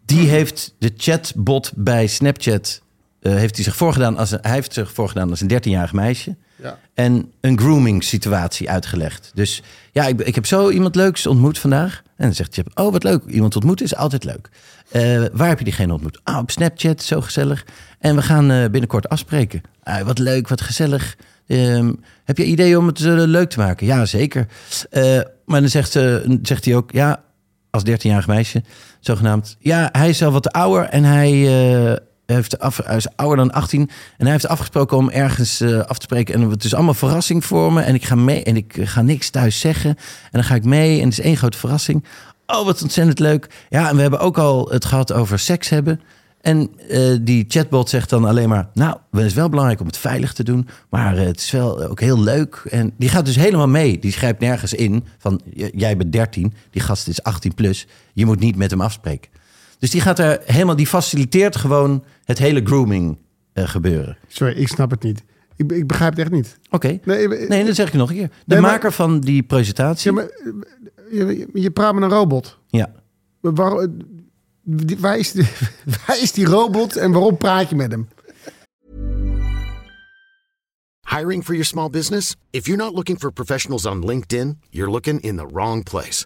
Speaker 5: die heeft de chatbot bij Snapchat eh, heeft hij zich voorgedaan als een, hij heeft zich voorgedaan als een 13-jarig meisje. En een grooming situatie uitgelegd. Dus ja, ik, ik heb zo iemand leuks ontmoet vandaag. En dan zegt je, oh wat leuk, iemand ontmoeten is altijd leuk. Eh, waar heb je diegene ontmoet? Ah, op Snapchat, zo gezellig. En we gaan eh, binnenkort afspreken. Ah, wat leuk, wat gezellig. Ehm, heb je ideeën om het eh, leuk te maken? Ja, zeker. Eh, maar dan zegt, ze, zegt hij ook, ja, als 13-jarig meisje, zogenaamd. Ja, hij is al wat ouder en hij, eh, heeft af, hij is ouder dan 18. En hij heeft afgesproken om ergens eh, af te spreken. En het is allemaal verrassing voor me. En ik ga mee en ik ga niks thuis zeggen. En dan ga ik mee en het is één grote verrassing. Oh, wat ontzettend leuk. Ja, en we hebben ook al het gehad over seks hebben. En eh, die chatbot zegt dan alleen maar... nou, het is wel belangrijk om het veilig te doen... maar eh, het is wel ook heel leuk. En die gaat dus helemaal mee. Die schrijft nergens in van... j- jij bent 13, die gast is 18 plus... je moet niet met hem afspreken. Dus die gaat daar helemaal... die faciliteert gewoon het hele grooming eh, gebeuren.
Speaker 4: Sorry, ik snap het niet. Ik, ik begrijp het echt niet.
Speaker 5: Oké,
Speaker 4: Nee,
Speaker 5: nee,
Speaker 4: ik-
Speaker 5: dat zeg ik nog een keer. De
Speaker 4: Nee, maar-
Speaker 5: maker van die presentatie...
Speaker 4: Ja, maar, eh, je, je praat met een robot.
Speaker 5: ja.
Speaker 4: Maar Waar, eh, die- waar, is die, waar is die robot en waarom praat je met hem?
Speaker 2: Hiring for your small business? If you're not looking for professionals on LinkedIn, you're looking in the wrong place.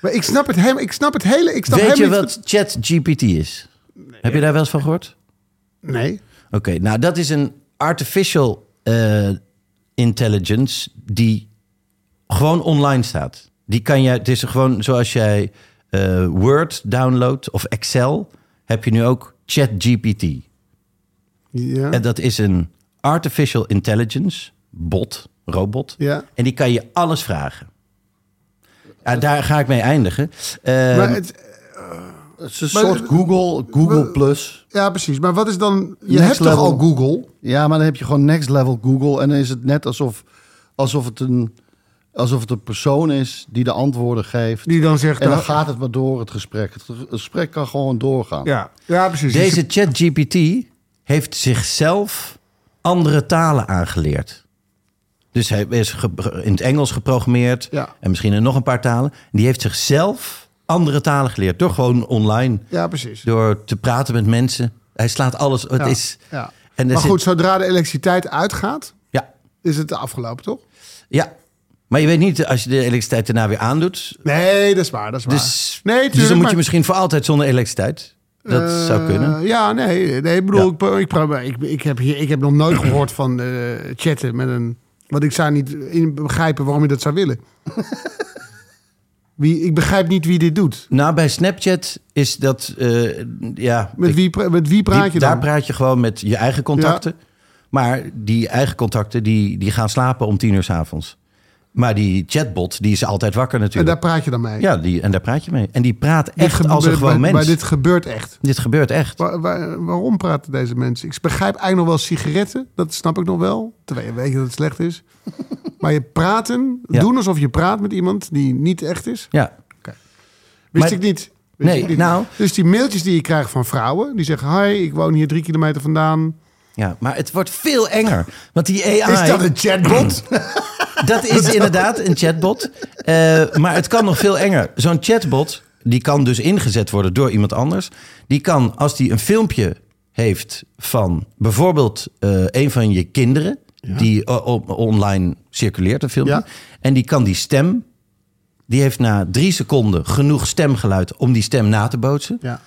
Speaker 4: Maar ik snap het, helemaal. ik snap het hele... Ik snap
Speaker 5: Weet je
Speaker 4: helemaal
Speaker 5: wat ChatGPT is? Heb je daar wel eens van gehoord?
Speaker 4: niet- Nee.
Speaker 5: Oké, nou dat is een artificial eh, intelligence die gewoon online staat. Die kan je, het is gewoon zoals jij eh, Word downloadt of Excel, heb je nu ook ChatGPT.
Speaker 4: Ja.
Speaker 5: En dat is een artificial intelligence bot, robot.
Speaker 4: Ja.
Speaker 5: En die kan je alles vragen. Ja, daar ga ik mee eindigen. Eh,
Speaker 4: maar het,
Speaker 6: Het is een
Speaker 4: Maar-
Speaker 6: soort Google, Google Plus.
Speaker 4: ja, precies. Maar wat is dan... Je
Speaker 6: Next
Speaker 4: hebt toch
Speaker 6: level.
Speaker 4: al Google?
Speaker 6: Ja, maar dan heb je gewoon next level Google. En dan is het net alsof, alsof, het, een, alsof het een persoon is die de antwoorden geeft.
Speaker 4: Die dan zegt...
Speaker 6: en dan
Speaker 4: nou,
Speaker 6: gaat het maar door, het gesprek. Het gesprek kan gewoon doorgaan.
Speaker 4: Ja, ja precies. Dus
Speaker 5: Deze ChatGPT heeft zichzelf andere talen aangeleerd. Dus hij is ge- in het Engels geprogrammeerd
Speaker 4: Ja.
Speaker 5: en misschien in nog een paar talen. Die heeft zichzelf andere talen geleerd door gewoon online,
Speaker 4: Ja, precies.
Speaker 5: door te praten met mensen. Hij slaat alles. Het
Speaker 4: Ja,
Speaker 5: is.
Speaker 4: ja.
Speaker 5: En er
Speaker 4: maar
Speaker 5: zit-
Speaker 4: goed, zodra de elektriciteit uitgaat,
Speaker 5: Ja,
Speaker 4: is het afgelopen, toch?
Speaker 5: ja. Maar je weet niet als je de elektriciteit daarna weer aandoet.
Speaker 4: Nee, dat is waar, dat is waar.
Speaker 5: Dus,
Speaker 4: nee,
Speaker 5: dus
Speaker 4: tuurlijk,
Speaker 5: dan moet
Speaker 4: maar-
Speaker 5: je misschien voor altijd zonder elektriciteit. Dat zou kunnen.
Speaker 4: Eh, ja, nee, nee ik bedoel, ik pro- ik, pro- ik, ik, heb hier, ik heb nog nooit gehoord van eh, chatten met een... Want ik zou niet in begrijpen waarom je dat zou willen. wie, ik begrijp niet wie dit doet.
Speaker 5: Nou, bij Snapchat is dat. eh, ja,
Speaker 4: Met wie, pra- met wie praat je
Speaker 5: Die-
Speaker 4: dan?
Speaker 5: Daar praat je gewoon met je eigen contacten. Maar die eigen contacten die, die gaan slapen om tien uur s avonds. Maar die chatbot die is altijd wakker
Speaker 4: en daar
Speaker 5: natuurlijk.
Speaker 4: praat je dan mee.
Speaker 5: ja, die, en daar praat je mee. En die praat
Speaker 4: Dit
Speaker 5: echt
Speaker 4: gebe-
Speaker 5: als een
Speaker 4: maar-
Speaker 5: gewoon
Speaker 4: maar,
Speaker 5: mens.
Speaker 4: Maar
Speaker 5: Dit,
Speaker 4: dit gebeurt echt.
Speaker 5: gebeurt echt.
Speaker 4: Waar- waar- waarom praten deze mensen? Ik begrijp eigenlijk nog wel sigaretten. Dat snap ik nog wel. Terwijl je weet dat het slecht is. Maar je praten,
Speaker 5: Ja.
Speaker 4: doen alsof je praat met iemand die niet echt is.
Speaker 5: Ja.
Speaker 4: Wist
Speaker 5: Maar-
Speaker 4: ik niet. Wist
Speaker 5: Nee,
Speaker 4: ik niet.
Speaker 5: nou-
Speaker 4: Dus die mailtjes die je krijgt van vrouwen, die zeggen: Hi, ik woon hier drie kilometer vandaan.
Speaker 5: ja, maar het wordt veel enger. Want die AI...
Speaker 4: Is dat een chatbot?
Speaker 5: Dat is inderdaad een chatbot. Eh, maar het kan nog veel enger. Zo'n chatbot, die kan dus ingezet worden door iemand anders. Die kan, als die een filmpje heeft van bijvoorbeeld eh, een van je kinderen... die o- o- online circuleert, een filmpje.
Speaker 4: Ja.
Speaker 5: En die kan die stem... die heeft na drie seconden genoeg stemgeluid... om die stem na te bootsen.
Speaker 4: ja.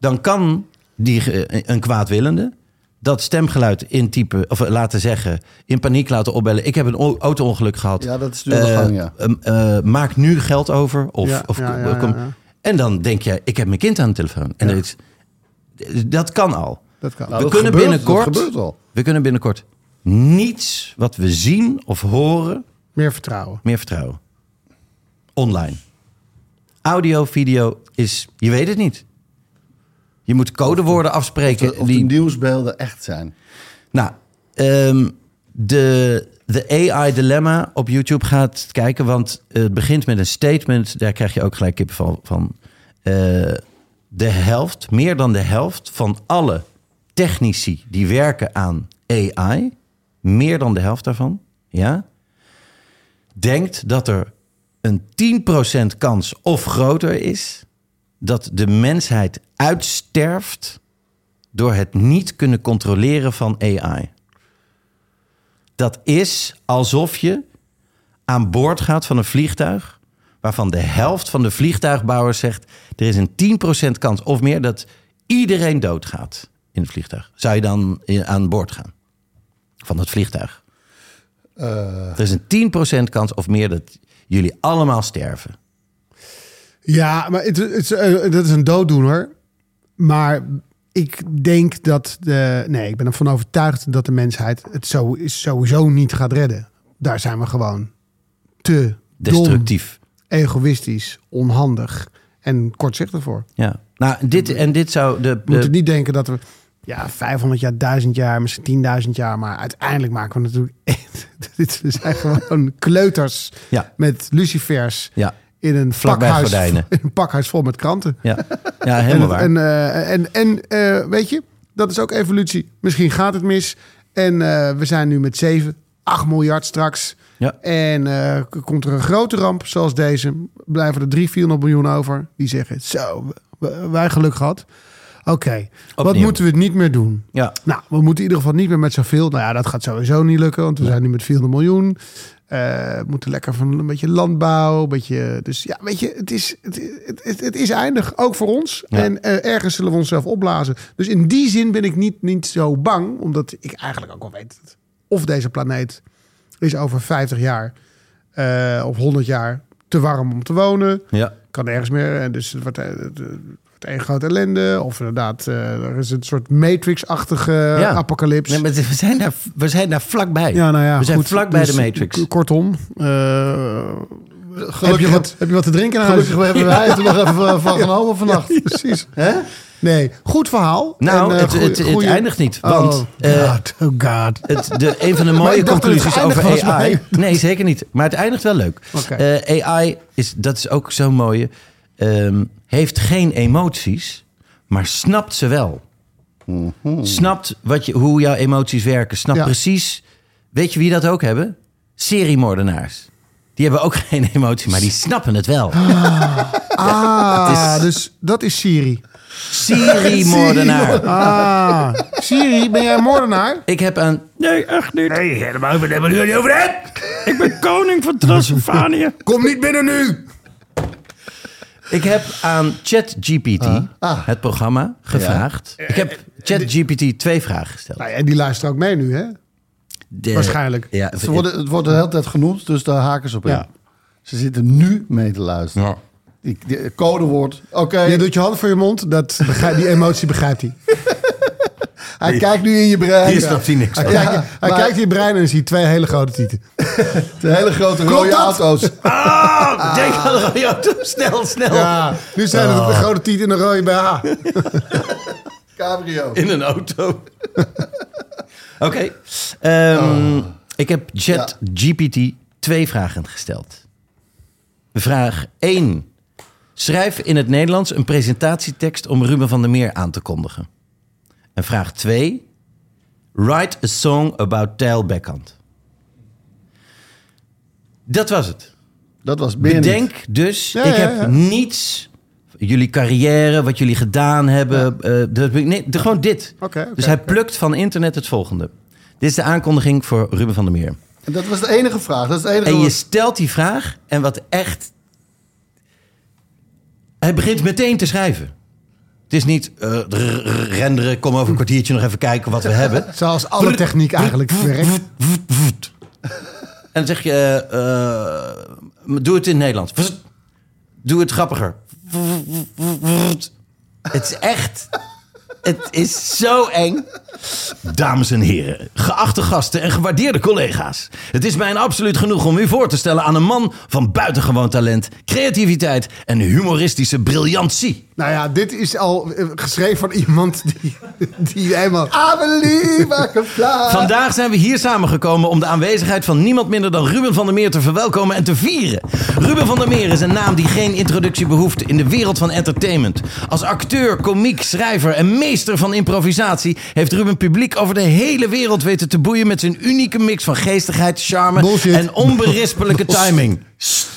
Speaker 5: Dan kan die, ge- een kwaadwillende dat stemgeluid intypen of eh, laten zeggen, in paniek laten opbellen. Ik heb een o- auto-ongeluk gehad.
Speaker 6: Ja, dat is de gang, ja.
Speaker 5: ehm, eh, maak nu geld over. Of,
Speaker 4: Ja,
Speaker 5: of
Speaker 4: ja, ja,
Speaker 5: kom-
Speaker 4: ja, ja.
Speaker 5: En dan denk je, ik heb mijn kind aan de telefoon. En dat, is- dat kan al.
Speaker 4: Dat kan.
Speaker 6: Nou,
Speaker 5: we
Speaker 6: dat
Speaker 5: kunnen
Speaker 6: gebeurt- Dat
Speaker 5: binnenkort.
Speaker 6: gebeurt al.
Speaker 5: We kunnen binnenkort niets wat we zien of horen
Speaker 4: Meer vertrouwen.
Speaker 5: meer vertrouwen. Online. Audio, video is, je weet het niet. Je moet codewoorden afspreken.
Speaker 6: Of de
Speaker 5: die-
Speaker 6: nieuwsbeelden echt zijn.
Speaker 5: nou, ehm, de, de AI Dilemma op YouTube gaat kijken. Want het begint met een statement. Daar krijg je ook gelijk kippenval van. Eh, de helft, meer dan de helft van alle technici die werken aan AI. Meer dan de helft daarvan. Ja. Denkt dat er een 10% kans of groter is dat de mensheid uitsterft door het niet kunnen controleren van AI. Dat is alsof je aan boord gaat van een vliegtuig waarvan de helft van de vliegtuigbouwers zegt er is een 10% kans of meer dat iedereen doodgaat in het vliegtuig. Zou je dan eh, aan boord gaan van het vliegtuig?
Speaker 4: Eh.
Speaker 5: Er is een 10% kans of meer dat jullie allemaal sterven.
Speaker 4: Ja, maar het, het, is, eh, dat is een dooddoener. Maar ik denk dat de. Nee, ik ben ervan overtuigd dat de mensheid het zo, sowieso niet gaat redden. Daar zijn we gewoon te dom,
Speaker 5: Destructief.
Speaker 4: egoïstisch, onhandig en kortzichtig voor.
Speaker 5: Ja. Nou, dit, en dit zou de,
Speaker 4: We moeten
Speaker 5: de,
Speaker 4: niet denken dat we ja, 500 jaar, 1000 jaar, misschien 10.000 jaar, maar uiteindelijk maken we natuurlijk echt. dit- We zijn gewoon kleuters
Speaker 5: Ja.
Speaker 4: met lucifers
Speaker 5: Ja.
Speaker 4: in een
Speaker 5: Vlakbij
Speaker 4: pakhuis,
Speaker 5: gordijnen.
Speaker 4: in een pakhuis vol met kranten.
Speaker 5: ja, ja, helemaal waar.
Speaker 4: En, eh, en, en eh, weet je, dat is ook evolutie. Misschien gaat het mis. En eh, we zijn nu met 7, 8 miljard straks.
Speaker 5: Ja.
Speaker 4: En eh, k- komt er een grote ramp zoals deze, blijven er 3, 400 miljoen over. Die zeggen, zo, w- w- wij geluk gehad. Oké, wat
Speaker 5: Opnieuw.
Speaker 4: moeten we niet meer doen?
Speaker 5: Ja.
Speaker 4: Nou, we moeten in ieder geval niet meer met zoveel. Nou ja, dat gaat sowieso niet lukken, want we zijn nu met 400 miljoen. Eh, we moeten lekker van een beetje landbouw, een beetje... Dus ja, weet je, het is, het, het, het, het is eindig, ook voor ons.
Speaker 5: Ja.
Speaker 4: En eh, ergens zullen we onszelf opblazen. Dus in die zin ben ik niet, niet zo bang, omdat ik eigenlijk ook wel weet... dat of deze planeet is over 50 jaar eh, of 100 jaar te warm om te wonen
Speaker 5: Ja.
Speaker 4: kan nergens meer. En dus het wordt, eh, het wordt één grote ellende. Of inderdaad, eh, er is een soort Matrix-achtige
Speaker 5: Ja.
Speaker 4: Eh, apocalyps.
Speaker 5: Nee, maar we, zijn daar, we zijn daar vlakbij.
Speaker 4: ja, nou ja,
Speaker 5: we zijn
Speaker 4: goed.
Speaker 5: vlakbij
Speaker 4: Dus,
Speaker 5: de Matrix.
Speaker 4: k- Kortom, eh, heb, je wat, heb je wat te drinken in huis?
Speaker 6: Gelukkig hebben wij het er nog even eh, van genomen vannacht.
Speaker 4: Precies. Nee, goed verhaal.
Speaker 5: Nou,
Speaker 4: eh,
Speaker 5: het-
Speaker 4: goeie-
Speaker 5: het- het
Speaker 4: goeie-
Speaker 5: eindigt niet,
Speaker 4: Oh,
Speaker 5: want, eh,
Speaker 4: God, oh god.
Speaker 5: Het, de, een van de mooie
Speaker 4: ik dacht dat het
Speaker 5: conclusies
Speaker 4: geëindigd
Speaker 5: over
Speaker 4: was,
Speaker 5: AI.
Speaker 4: maar-
Speaker 5: Nee, zeker niet. Maar het eindigt wel leuk.
Speaker 4: Oké.
Speaker 5: Eh, AI, is, dat is ook zo'n mooie, ehm, heeft geen emoties, maar snapt ze wel. Snapt wat je, hoe jouw emoties werken. Snapt
Speaker 4: Mhm. Ja.
Speaker 5: precies. Weet je wie dat ook hebben? Seriemoordenaars. Die hebben ook geen emotie, maar die snappen het wel.
Speaker 4: Ah,
Speaker 5: Het is-
Speaker 4: dus dat is Siri.
Speaker 5: Seriemoordenaar.
Speaker 4: Ah, Siri, ben jij een moordenaar?
Speaker 5: Ik heb aan...
Speaker 7: Nee, echt niet.
Speaker 5: Nee, helemaal niet. Hebben jullie over
Speaker 7: Ik ben koning van Transylvanië.
Speaker 4: Kom niet binnen nu!
Speaker 5: Ik heb aan ChatGPT, het programma, gevraagd. Ik heb ChatGPT twee vragen gesteld.
Speaker 4: Nou ja, en die luistert ook mee nu, hè?
Speaker 5: De-
Speaker 4: waarschijnlijk.
Speaker 5: Ja,
Speaker 6: Het wordt, het wordt de hele tijd genoemd, dus daar haken ze op in.
Speaker 4: Ja.
Speaker 6: Ze zitten nu mee te luisteren.
Speaker 5: Ja.
Speaker 6: Die, die- codewoord. Oké,
Speaker 4: Je doet je hand voor je mond, dat begrijp- die emotie begrijpt hij.
Speaker 6: hij kijkt nu in je brein.
Speaker 5: Hier snapt hij niks
Speaker 6: Ja,
Speaker 5: van.
Speaker 4: Kijk, hij
Speaker 6: maar
Speaker 4: kijkt in je brein en ziet twee hele grote tieten.
Speaker 6: de hele grote rode
Speaker 4: dat?
Speaker 6: auto's.
Speaker 5: Oh, denk aan de rode auto. Snel, snel.
Speaker 4: Ja, nu zijn het
Speaker 6: Oh.
Speaker 4: de grote tieten en een rode BH.
Speaker 6: Cabrio.
Speaker 5: In een auto. Oké. ehm, Ik heb ChatGPT twee vragen gesteld. Vraag 1. Schrijf in het Nederlands een presentatietekst om Ruben van der Meer aan te kondigen. En vraag 2. Write a song about Tijl Beckhand. Dat was het.
Speaker 6: Dat was meer
Speaker 5: Bedenk
Speaker 6: niet.
Speaker 5: dus,
Speaker 4: Ja,
Speaker 5: ik
Speaker 4: ja,
Speaker 5: heb
Speaker 4: ja.
Speaker 5: niets. Jullie carrière, wat jullie gedaan hebben. eh, dat- nee, de- gewoon dit.
Speaker 4: Oké, oké,
Speaker 5: dus hij
Speaker 4: oké.
Speaker 5: plukt van internet het volgende. Dit is de aankondiging voor Ruben van der Meer.
Speaker 6: En Dat was de enige vraag. Dat is het enige
Speaker 5: En je
Speaker 6: wat-
Speaker 5: stelt die vraag en wat echt... Hij begint meteen te schrijven. Het is niet eh, drrr, renderen, kom over een kwartiertje nog even kijken wat we hebben.
Speaker 4: Zoals alle techniek eigenlijk werkt.
Speaker 5: En dan zeg je, eh, eh, doe het in het Nederlands. Doe het grappiger. Het is echt, het is zo eng. Dames en heren, geachte gasten en gewaardeerde collega's. Het is mij een absoluut genoeg om u voor te stellen aan een man van buitengewoon talent, creativiteit en humoristische briljantie.
Speaker 4: Nou ja, dit is al eh, geschreven van iemand die, die helemaal...
Speaker 6: I believe I can fly.
Speaker 5: Vandaag zijn we hier samengekomen om de aanwezigheid van niemand minder dan Ruben van der Meer te verwelkomen en te vieren. Ruben van der Meer is een naam die geen introductie behoeft in de wereld van entertainment. Als acteur, komiek, schrijver en meester van improvisatie heeft Ruben publiek over de hele wereld weten te boeien met zijn unieke mix van geestigheid, charme
Speaker 4: Bullshit.
Speaker 5: en onberispelijke timing.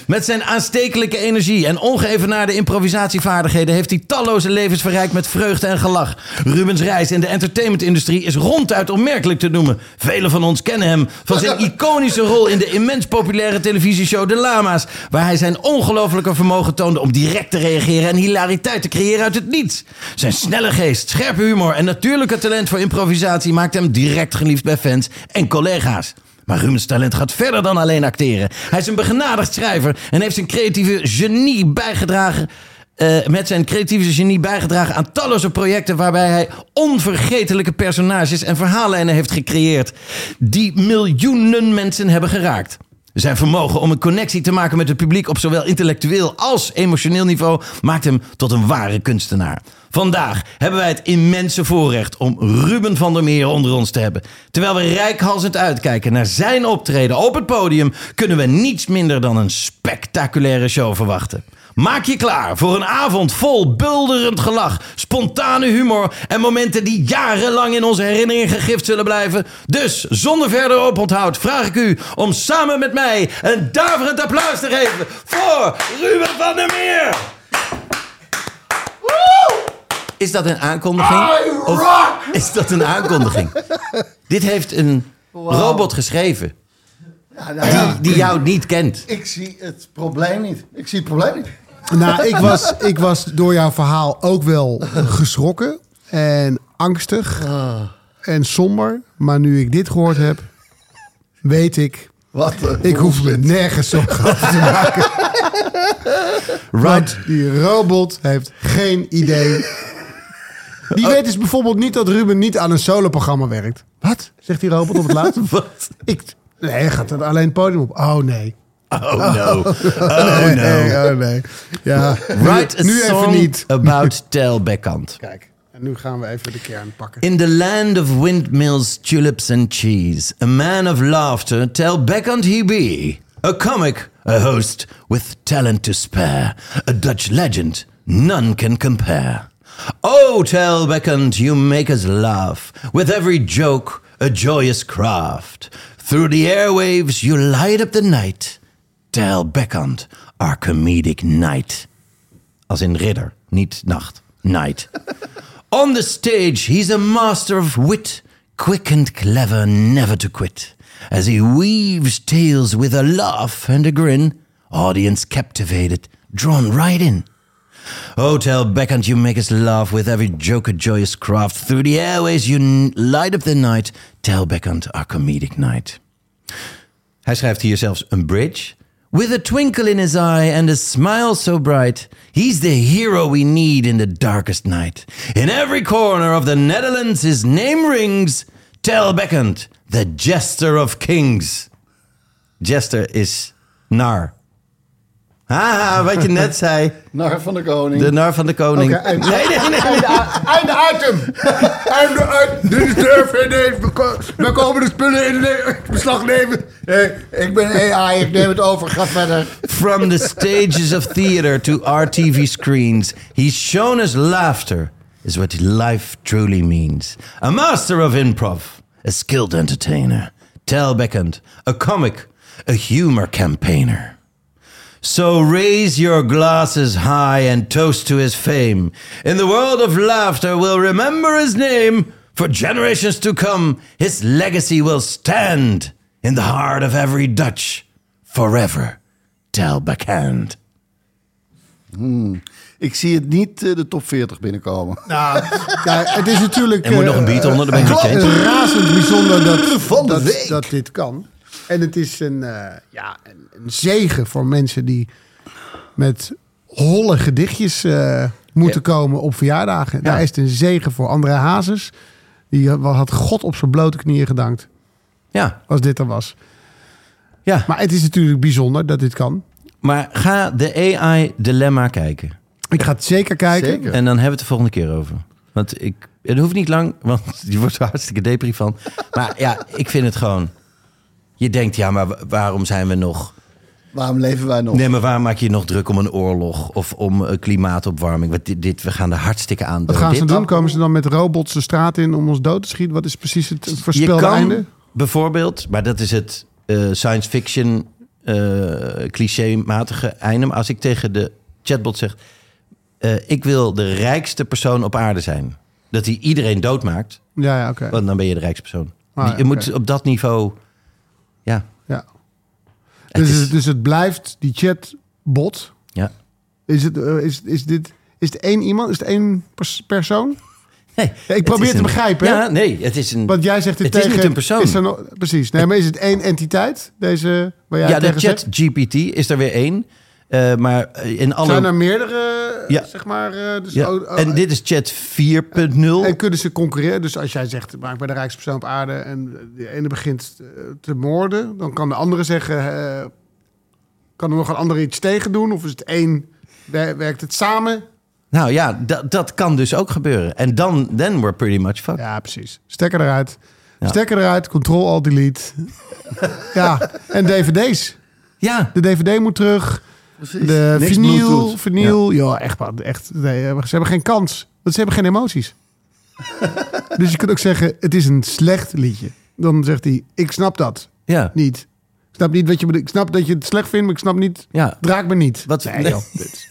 Speaker 5: Met zijn aanstekelijke energie en ongeëvenaarde improvisatievaardigheden heeft hij talloze levens verrijkt met vreugde en gelach. Rubens reis in de entertainmentindustrie is ronduit opmerkelijk te noemen. Velen van ons kennen hem van zijn iconische rol in de immens populaire televisieshow De Lama's, waar hij zijn ongelofelijke vermogen toonde om direct te reageren en hilariteit te creëren uit het niets. Zijn snelle geest, scherpe humor en natuurlijke talent voor improvisatie maakt hem direct geliefd bij fans en collega's. Maar Rubens talent gaat verder dan alleen acteren. Hij is een begenadigd schrijver en heeft zijn creatieve genie bijgedragen. eh, met zijn creatieve genie bijgedragen aan talloze projecten waarbij hij onvergetelijke personages en verhaallijnen heeft gecreëerd. Die miljoenen mensen hebben geraakt. Zijn vermogen om een connectie te maken met het publiek op zowel intellectueel als emotioneel niveau maakt hem tot een ware kunstenaar. Vandaag hebben wij het immense voorrecht om Ruben van der Meer onder ons te hebben. Terwijl we reikhalzend uitkijken naar zijn optreden op het podium, kunnen we niets minder dan een spectaculaire show verwachten. Maak je klaar voor een avond vol bulderend gelach, spontane humor en momenten die jarenlang in onze herinnering gegrift zullen blijven. Dus zonder verder oponthoud vraag ik u om samen met mij een daverend applaus te geven voor Ruben van der Meer. Is dat een aankondiging? Of is dat een aankondiging? Dit heeft een robot geschreven
Speaker 6: Ja, nou ja,
Speaker 5: die jou niet kent.
Speaker 6: ik zie het probleem niet. Ik zie het probleem niet.
Speaker 4: Nou, ik was, ik was door jouw verhaal ook wel geschrokken en angstig
Speaker 6: Ah.
Speaker 4: en somber. Maar nu ik dit gehoord heb, weet ik,
Speaker 6: Wat een
Speaker 4: ik hoef me
Speaker 6: bullshit.
Speaker 4: nergens zorgen over te maken.
Speaker 5: Right.
Speaker 4: Want die robot heeft geen idee. Die
Speaker 5: Oh.
Speaker 4: weet dus bijvoorbeeld niet dat Ruben niet aan een soloprogramma werkt. Wat? Zegt die robot op het laatst.
Speaker 5: Wat?
Speaker 4: Ik, nee, hij gaat er alleen het podium op. Oh nee.
Speaker 5: Oh no. Oh
Speaker 4: nee,
Speaker 5: no.
Speaker 4: nee, oh nee. Ja,
Speaker 5: Write a
Speaker 4: nu
Speaker 5: song
Speaker 4: even niet.
Speaker 5: about Tel Bekkant.
Speaker 4: Kijk, en nu gaan we even de kern pakken.
Speaker 5: In the land of windmills, tulips and cheese, a man of laughter, Tel Bekkant he be. A comic, a host, with talent to spare. A Dutch legend, none can compare. Oh, Tel Bekkant, you make us laugh. With every joke, a joyous craft. Through the airwaves, you light up the night. Tel Bekkant, our comedic knight. Als in ridder, niet nacht. Night. On the stage, he's a master of wit, quick and clever, never to quit. As he weaves tales with a laugh and a grin, audience captivated, drawn right in. Oh, Hotel Beckant, you make us laugh with every joke a joyous craft. Through the airways, you n- light up the night. Tell Beckant our comedic night. Hij schrijft hier zelfs een bridge. With a twinkle in his eye and a smile so bright, he's the hero we need in the darkest night. In every corner of the Netherlands, his name rings. Tel Beckant, the jester of kings. Jester is nar. Haha, wat je net zei.
Speaker 6: Nar van de koning.
Speaker 5: De nar van de koning.
Speaker 4: Oké, en-
Speaker 5: nee, nee, nee.
Speaker 4: Einde item! Einde item! Dit is de FND. We ko- We komen de spullen in de- beslag nemen. Eh, ik ben AI, ik neem het over. Ga verder.
Speaker 5: From the stages of theater to our TV screens, he's shown us laughter is what life truly means. A master of improv, a skilled entertainer, Tel Beckant, a comic, a humor campaigner. So raise your glasses high and toast to his fame. In the world of laughter, we'll remember his name. For generations to come, his legacy will stand in the heart of every Dutch forever. Tel backhand.
Speaker 6: Ik zie het niet eh, de top 40 binnenkomen.
Speaker 4: Nou, ja, het is natuurlijk...
Speaker 5: Er moet
Speaker 4: eh,
Speaker 5: nog een beat onder, dan ben ik
Speaker 4: klopt,
Speaker 5: niet
Speaker 4: Het
Speaker 5: eens.
Speaker 4: is razend bijzonder dat,
Speaker 6: Van de
Speaker 4: dat,
Speaker 6: week.
Speaker 4: dat dit kan. En het is een, eh, ja, een, een zegen voor mensen die met holle gedichtjes eh, moeten komen op verjaardagen. Daar is het een zegen voor André Hazes. Die had God op zijn blote knieën gedankt
Speaker 5: Ja,
Speaker 4: als dit er was.
Speaker 5: ja. Maar,
Speaker 4: Maar het is natuurlijk bijzonder dat dit kan.
Speaker 5: ga de AI-dilemma kijken.
Speaker 4: Ik ga het zeker kijken.
Speaker 6: Zeker.
Speaker 5: En dan hebben we het de volgende keer over. Want ik, het hoeft niet lang, want je wordt er hartstikke depri van. Maar ja, ik vind het gewoon... Je denkt, ja, maar wa- waarom zijn we nog...
Speaker 6: Waarom leven wij nog?
Speaker 5: Nee, maar waar maak je je nog druk om een oorlog of om eh, klimaatopwarming? Want dit, dit, we gaan er hartstikke aan
Speaker 4: Wat
Speaker 5: door.
Speaker 4: gaan ze
Speaker 5: Dit-
Speaker 4: doen? Komen ze dan met robots de straat in om ons dood te schieten? Wat is precies het
Speaker 5: Je
Speaker 4: voorspelde
Speaker 5: kan
Speaker 4: einde?
Speaker 5: bijvoorbeeld, maar dat is het eh, science fiction eh clichématige einde. Maar als ik tegen de chatbot zeg, eh, ik wil de rijkste persoon op aarde zijn. Dat hij iedereen doodmaakt,
Speaker 4: Ja, ja oké.
Speaker 5: want dan ben je de rijkste persoon.
Speaker 4: Ah,
Speaker 5: Die- je
Speaker 4: ja,
Speaker 5: moet
Speaker 4: oké.
Speaker 5: op dat niveau, ja,
Speaker 4: Ja.
Speaker 5: Het
Speaker 4: Dus,
Speaker 5: is-
Speaker 4: het, dus het blijft die chatbot.
Speaker 5: ja.
Speaker 4: Is het, eh, is, is dit, is het één iemand? Is het één pers- persoon?
Speaker 5: Nee, het
Speaker 4: probeer
Speaker 5: is
Speaker 4: te
Speaker 5: een-
Speaker 4: begrijpen, hè?
Speaker 5: Ja, nee, het is een.
Speaker 4: Want jij zegt dit
Speaker 5: het
Speaker 4: tegen...
Speaker 5: is niet een persoon.
Speaker 4: er nog- precies. Nee, maar is het één entiteit? Deze, waar jij
Speaker 5: Ja, de
Speaker 4: tegen
Speaker 5: chat
Speaker 4: zegt?
Speaker 5: GPT is er weer één. Eh, maar eh, in alle...
Speaker 4: Zijn er meerdere,
Speaker 5: Ja.
Speaker 4: zeg maar... eh, Dus
Speaker 5: ja.
Speaker 4: oh, oh,
Speaker 5: en dit is chat 4.0.
Speaker 4: En kunnen ze concurreren? Dus als jij zegt, maak bij de rijkste persoon op aarde... en de ene begint eh, te moorden... dan kan de andere zeggen... eh, kan er nog een ander iets tegen doen? Of is het één... wer- Werkt het samen?
Speaker 5: Nou ja, dat- dat kan dus ook gebeuren. En dan then we're pretty much fucked.
Speaker 4: Ja, precies. Stekker eruit.
Speaker 5: Ja.
Speaker 4: Stekker eruit, Ctrl-Alt-Delete. ja, en dvd's.
Speaker 5: Ja,
Speaker 4: De dvd moet terug. De
Speaker 6: Niks
Speaker 4: vinyl,
Speaker 6: Bluetooth.
Speaker 4: vinyl. Ja, echt man. Echt, nee, ze hebben geen kans. Want ze hebben geen emoties. dus je kunt ook zeggen, het is een slecht liedje. Dan zegt hij, ik snap dat
Speaker 5: ja.
Speaker 4: niet. Ik snap niet wat je bedoelt. Ik snap dat je het slecht vindt, maar ik snap niet...
Speaker 5: Ja.
Speaker 4: Draak me niet.
Speaker 5: Wat-
Speaker 4: Nee,
Speaker 5: nee.
Speaker 4: joh. Dit is-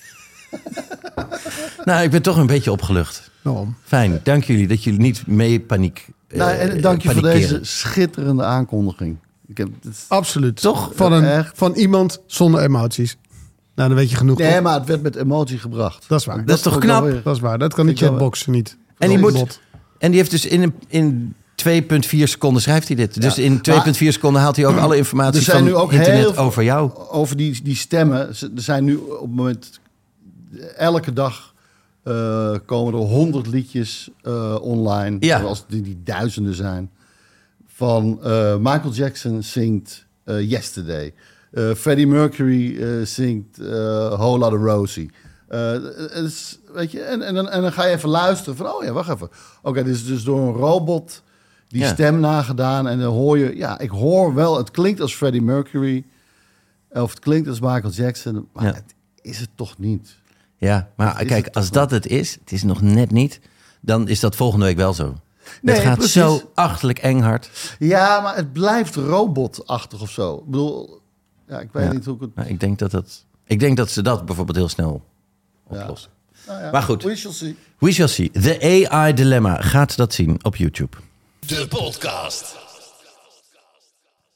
Speaker 5: Nou, ik ben toch een beetje opgelucht.
Speaker 4: Daarom.
Speaker 5: Fijn, dank jullie dat jullie niet mee paniek. eh,
Speaker 6: Nou, en dank je voor
Speaker 5: panikeren.
Speaker 6: deze schitterende aankondiging. Ik heb, het is-
Speaker 4: Absoluut.
Speaker 6: Toch?
Speaker 4: Van, een,
Speaker 6: Echt.
Speaker 4: van iemand zonder emoties. Nou, dan weet je genoeg.
Speaker 6: nee,
Speaker 4: toch?
Speaker 6: maar het werd met emotie gebracht.
Speaker 4: Dat is waar.
Speaker 5: Dat is toch
Speaker 6: vond ik wel
Speaker 5: knap?
Speaker 6: weer-
Speaker 4: Dat is waar. Dat kan die
Speaker 6: Vind ik wel-
Speaker 4: chatbox niet.
Speaker 5: En die
Speaker 4: Dat
Speaker 5: moet-
Speaker 4: bot.
Speaker 5: En die heeft dus in, een- in 2,4 seconden schrijft hij dit. Dus in 2,4 seconden haalt hij ook alle informatie
Speaker 6: Er zijn
Speaker 5: van
Speaker 6: nu ook
Speaker 5: internet
Speaker 6: heel veel-
Speaker 5: over jou.
Speaker 6: Over die, die stemmen. ze- Er zijn nu op het moment... Elke dag eh, komen er honderd liedjes eh, online.
Speaker 5: Ja.
Speaker 6: Zoals die, die duizenden zijn. Van eh, Michael Jackson zingt eh, Yesterday. Eh, Freddie Mercury eh, zingt eh Whole Lotta Rosie. Eh, het is, weet je, en, en, dan- en dan ga je even luisteren van, oh ja, wacht even. Oké, dit is dus door een robot die
Speaker 5: Ja.
Speaker 6: stem nagedaan. En dan hoor je, ja, ik hoor wel, het klinkt als Freddie Mercury. Of het klinkt als Michael Jackson. Maar
Speaker 5: Ja.
Speaker 6: het is het toch niet.
Speaker 5: Ja, maar
Speaker 6: is
Speaker 5: kijk,
Speaker 6: het
Speaker 5: als dat het is, het is nog net niet, dan is dat volgende week wel zo.
Speaker 6: Nee,
Speaker 5: het gaat
Speaker 6: precies.
Speaker 5: zo achterlijk eng hard.
Speaker 6: Ja, maar het blijft robotachtig of zo. Ik bedoel, ja, ik weet
Speaker 5: Ja.
Speaker 6: niet hoe ik het...
Speaker 5: Maar ik denk dat, dat, ik denk dat ze dat bijvoorbeeld heel snel oplossen.
Speaker 6: Nou
Speaker 5: Maar goed,
Speaker 6: We shall see.
Speaker 5: we shall see. The AI Dilemma gaat dat zien op YouTube.
Speaker 8: De podcast.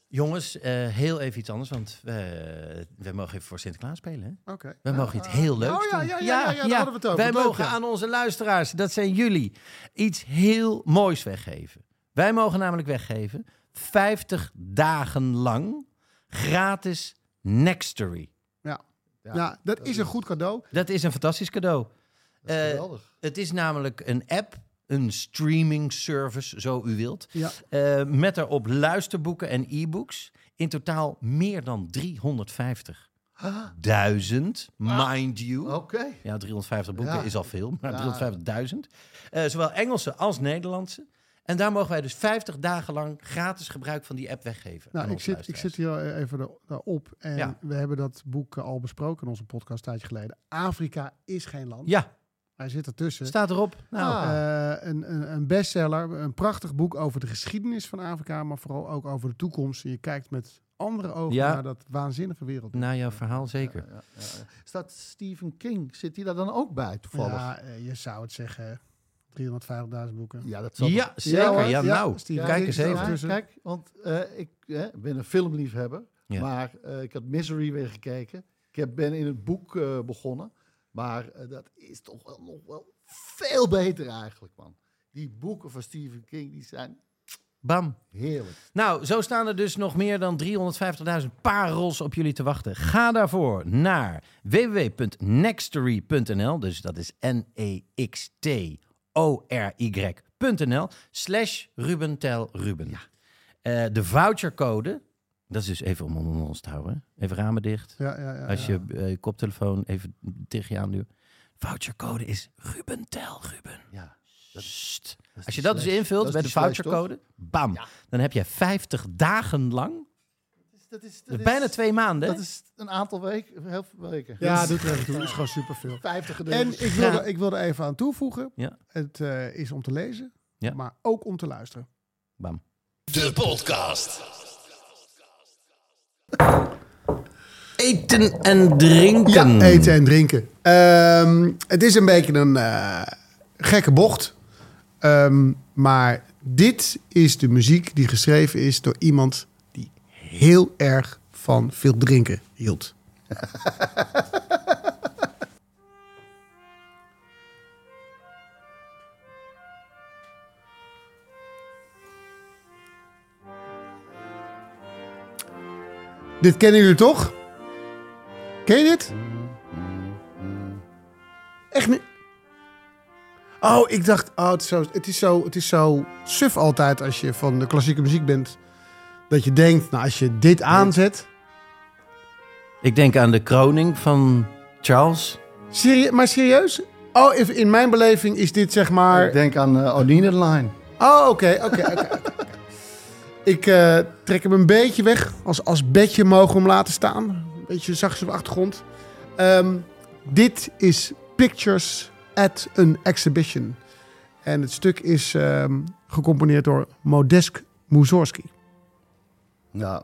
Speaker 5: Jongens, eh, heel even iets anders, want we, we mogen even voor Sinterklaas spelen. Hè?
Speaker 6: Oh,
Speaker 4: Oké.
Speaker 5: We mogen iets heel leuks
Speaker 4: oh ja,
Speaker 5: doen.
Speaker 4: ja, ja, ja, ja, daar hadden we het over.
Speaker 5: Wij
Speaker 4: Leuk,
Speaker 5: mogen
Speaker 4: ja.
Speaker 5: aan onze luisteraars, dat zijn jullie, iets heel moois weggeven. Wij mogen namelijk weggeven 50 dagen lang gratis Nextory.
Speaker 4: Ja. Ja, dat, is een goed cadeau. Nou,
Speaker 5: Dat is een fantastisch cadeau. Eh, het is namelijk een app, een streaming service, zo u wilt.
Speaker 4: Ja.
Speaker 5: Eh, met daarop luisterboeken en e-books. In totaal meer dan 350. Duizend,
Speaker 4: Ah.
Speaker 5: mind you.
Speaker 4: Oh.
Speaker 6: Oké.
Speaker 5: Ja, 350 boeken
Speaker 6: Ja.
Speaker 5: is al veel, maar 350.000. Eh, zowel Engelse als Nederlandse. En daar mogen wij dus 50 dagen lang gratis gebruik van die app weggeven. aan
Speaker 4: Nou, ik
Speaker 5: onze
Speaker 4: zit, ik
Speaker 5: luisteraars.
Speaker 4: zit hier al even er- daarop. En
Speaker 5: Ja.
Speaker 4: we hebben dat boek eh, al besproken in onze podcast een tijdje geleden. Afrika is geen land.
Speaker 5: Ja,
Speaker 4: Hij zit ertussen.
Speaker 5: staat erop. Nou,
Speaker 4: Eh, een, een, een bestseller, een prachtig boek over de geschiedenis van Afrika, maar vooral ook over de toekomst. En je kijkt met andere ogen
Speaker 5: Ja.
Speaker 4: naar dat waanzinnige wereld.
Speaker 5: na jouw verhaal zeker.
Speaker 6: Staat Stephen King, zit hij daar dan ook bij toevallig?
Speaker 4: Ja,
Speaker 6: Ja,
Speaker 4: eh, je zou het zeggen. 350.000 boeken.
Speaker 6: dat zal
Speaker 5: Ja,
Speaker 6: toch-
Speaker 5: zeker. Ja,
Speaker 6: hoor.
Speaker 5: nou,
Speaker 4: Steven
Speaker 5: kijk
Speaker 4: King
Speaker 5: eens
Speaker 4: staat
Speaker 5: even.
Speaker 4: ertussen.
Speaker 6: Kijk, want eh, ik eh, ben een filmliefhebber,
Speaker 5: Ja.
Speaker 6: maar eh, ik had Misery weer gekeken. Ik heb, ben in het boek eh, begonnen, maar eh, dat is toch wel nog wel veel beter eigenlijk, man. Die boeken van Stephen King, die zijn
Speaker 5: Bam.
Speaker 6: heerlijk.
Speaker 5: Nou, zo staan er dus nog meer dan 350.000 parels op jullie te wachten. Ga daarvoor naar www.nextory.nl. Dus dat is N-E-X-T-O-R-Y.nl. Slash Ruben tel Ruben. Eh, de vouchercode, dat is dus even om onder ons te houden. hè. Even ramen dicht.
Speaker 4: Ja, ja, ja.
Speaker 5: Als je eh, je koptelefoon even tegen je aanduwt. Vouchercode is Ruben tel Ruben.
Speaker 6: Ja,
Speaker 5: Sst. Als
Speaker 6: is
Speaker 5: je
Speaker 6: die
Speaker 5: dat dus
Speaker 6: slash.
Speaker 5: invult
Speaker 6: Dat is
Speaker 5: met de
Speaker 6: die slash,
Speaker 5: vouchercode, bam. Dan heb je 50 dagen lang,
Speaker 6: dat is, dat
Speaker 5: dat
Speaker 6: is-
Speaker 5: is bijna twee maanden.
Speaker 6: Dat is een aantal weken, heel veel weken.
Speaker 4: Ja, doet er even toe. is gewoon superveel.
Speaker 6: 50
Speaker 4: En
Speaker 6: gedurende.
Speaker 4: ik wil, er- ik wil er even aan toevoegen.
Speaker 5: Ja.
Speaker 4: Het eh, is om te lezen,
Speaker 5: Ja.
Speaker 4: maar ook om te luisteren.
Speaker 5: Bam.
Speaker 8: De podcast.
Speaker 5: Eten en drinken.
Speaker 4: Ja, eten en drinken. Ehm, het is een beetje een eh, gekke bocht. Ehm, maar dit is de muziek die geschreven is door iemand die heel erg van veel drinken hield. Dit kennen jullie toch? Ken je dit? Echt niet? Oh, ik dacht, oh, het, is zo, het, is zo, het is zo suf altijd als je van de klassieke muziek bent. Dat je denkt, nou, als je dit aanzet.
Speaker 5: Ik denk aan de kroning van Charles.
Speaker 4: Serie- maar serieus? Oh, in- in mijn beleving is dit zeg
Speaker 6: Ik
Speaker 4: maar.
Speaker 6: denk aan eh Onina Line.
Speaker 4: Oh, oké, oké, oké. oké. Ik eh, trek hem een beetje weg. Als, als bedje mogen we hem laten staan. Een beetje zachtjes op de achtergrond. Ehm, dit is Pictures at an Exhibition. En het stuk is ehm, gecomponeerd door Modesk Mussorgsky.
Speaker 6: Nou,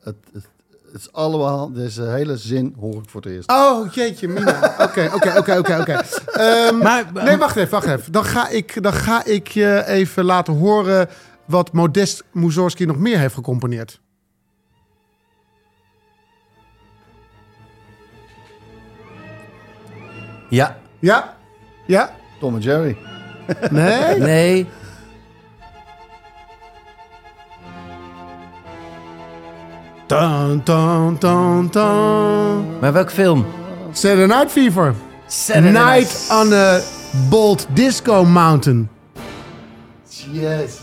Speaker 6: het, het, Het is allemaal, deze hele zin hoor ik voor het eerst.
Speaker 4: Oh, jeetje, Mina. Oké, oké, oké, oké, oké. Ehm,
Speaker 5: Maar-
Speaker 4: Nee, wacht even, wacht even. Dan ga ik, dan ga ik je even laten horen wat Modest Mussorgsky nog meer heeft gecomponeerd.
Speaker 5: Ja.
Speaker 4: Ja? Ja?
Speaker 6: Tom en Jerry.
Speaker 4: Nee?
Speaker 5: Nee.
Speaker 4: Tan, tan, tan, tan.
Speaker 5: Maar welk film?
Speaker 4: Saturday Night Fever.
Speaker 5: Saturday
Speaker 4: Night on a Bold Disco Mountain.
Speaker 6: Yes.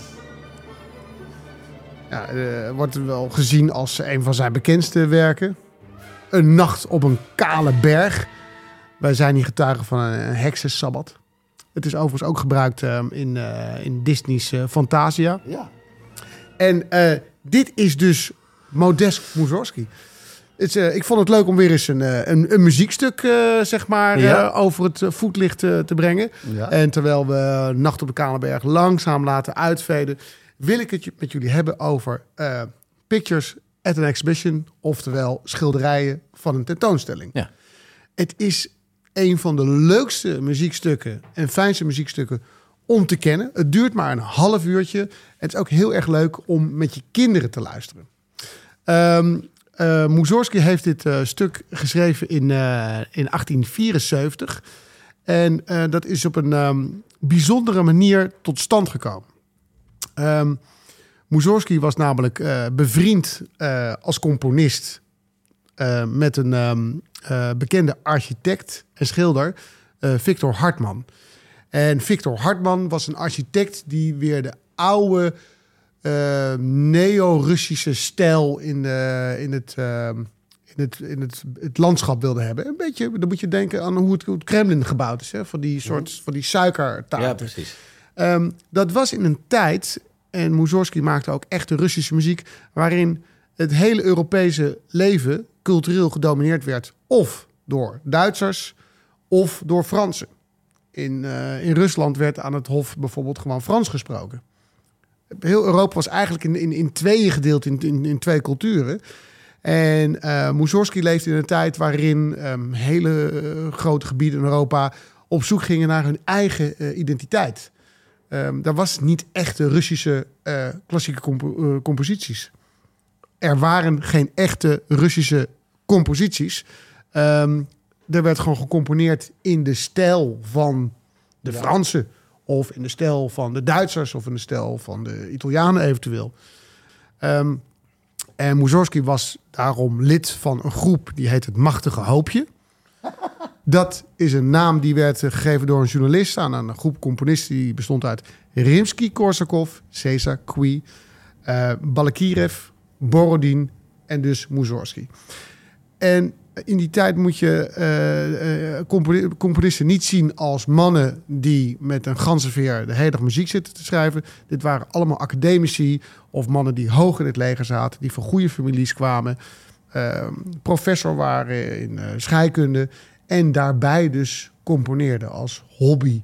Speaker 4: Ja, eh, wordt wel gezien als een van zijn bekendste werken. Een nacht op een kale berg. Wij zijn hier getuigen van een, een heksensabbat. Het is overigens ook gebruikt eh, in, eh, in Disney's eh, Fantasia.
Speaker 6: Ja.
Speaker 4: En eh, dit is dus Modest Mussorgsky. Het is, eh, ik vond het leuk om weer eens een, eh, een, een muziekstuk eh, zeg maar, eh,
Speaker 5: Ja.
Speaker 4: over het eh, voetlicht eh, te brengen.
Speaker 6: Ja.
Speaker 4: En terwijl we eh, Nacht op de Kalenberg langzaam laten uitveden... wil ik het ju- met jullie hebben over eh, Pictures at an Exhibition... oftewel schilderijen van een tentoonstelling.
Speaker 5: Ja.
Speaker 4: Het is een van de leukste muziekstukken en fijnste muziekstukken om te kennen. Het duurt maar een half uurtje. Het is ook heel erg leuk om met je kinderen te luisteren. Ehm eh, Mussorgsky heeft dit eh, stuk geschreven in, eh, in 1874. En eh, dat is op een ehm, bijzondere manier tot stand gekomen. Ehm Mussorgsky was namelijk eh, bevriend eh, als componist eh, met een ehm, eh, bekende architect en schilder, eh, Victor Hartman. En Victor Hartman was een architect die weer de oude eh, neo-Russische stijl in, de, in, het, ehm, in, het, in het, het landschap wilde hebben. Een beetje, dan moet je denken aan hoe het, hoe het Kremlin gebouwd is, hè? van die soort van die suikertaart.
Speaker 5: Ja, precies.
Speaker 4: Ehm, dat was in een tijd, en Mussorgsky maakte ook echte Russische muziek, waarin het hele Europese leven cultureel gedomineerd werd. Of door Duitsers, of door Fransen. In, eh, in Rusland werd aan het Hof bijvoorbeeld gewoon Frans gesproken. Heel Europa was eigenlijk in, in, in tweeën gedeeld, in, in, in twee culturen. En eh Mussorgsky leefde in een tijd waarin ehm, hele eh, grote gebieden in Europa op zoek gingen naar hun eigen eh, identiteit. Ehm, daar was niet echte Russische eh, klassieke compo- eh, composities. Er waren geen echte Russische composities. Ehm, er werd gewoon gecomponeerd in de stijl van de Fransen. Of in de stijl van de Duitsers. Of in de stijl van de Italianen eventueel. Ehm, en Mussorgsky was daarom lid van een groep die heet het Machtige Hoopje. Dat is een naam die werd eh, gegeven door een journalist aan een groep componisten die bestond uit Rimsky-Korsakov, Cesar Cui, eh Balakirev, Borodin en dus Mussorgsky. En in die tijd moet je eh, eh, componi- componisten niet zien als mannen die met een ganzenveer de hele dag muziek zitten te schrijven. Dit waren allemaal academici of mannen die hoog in het leger zaten, die van goede families kwamen, eh, professor waren in eh, scheikunde en daarbij dus componeerden als hobby,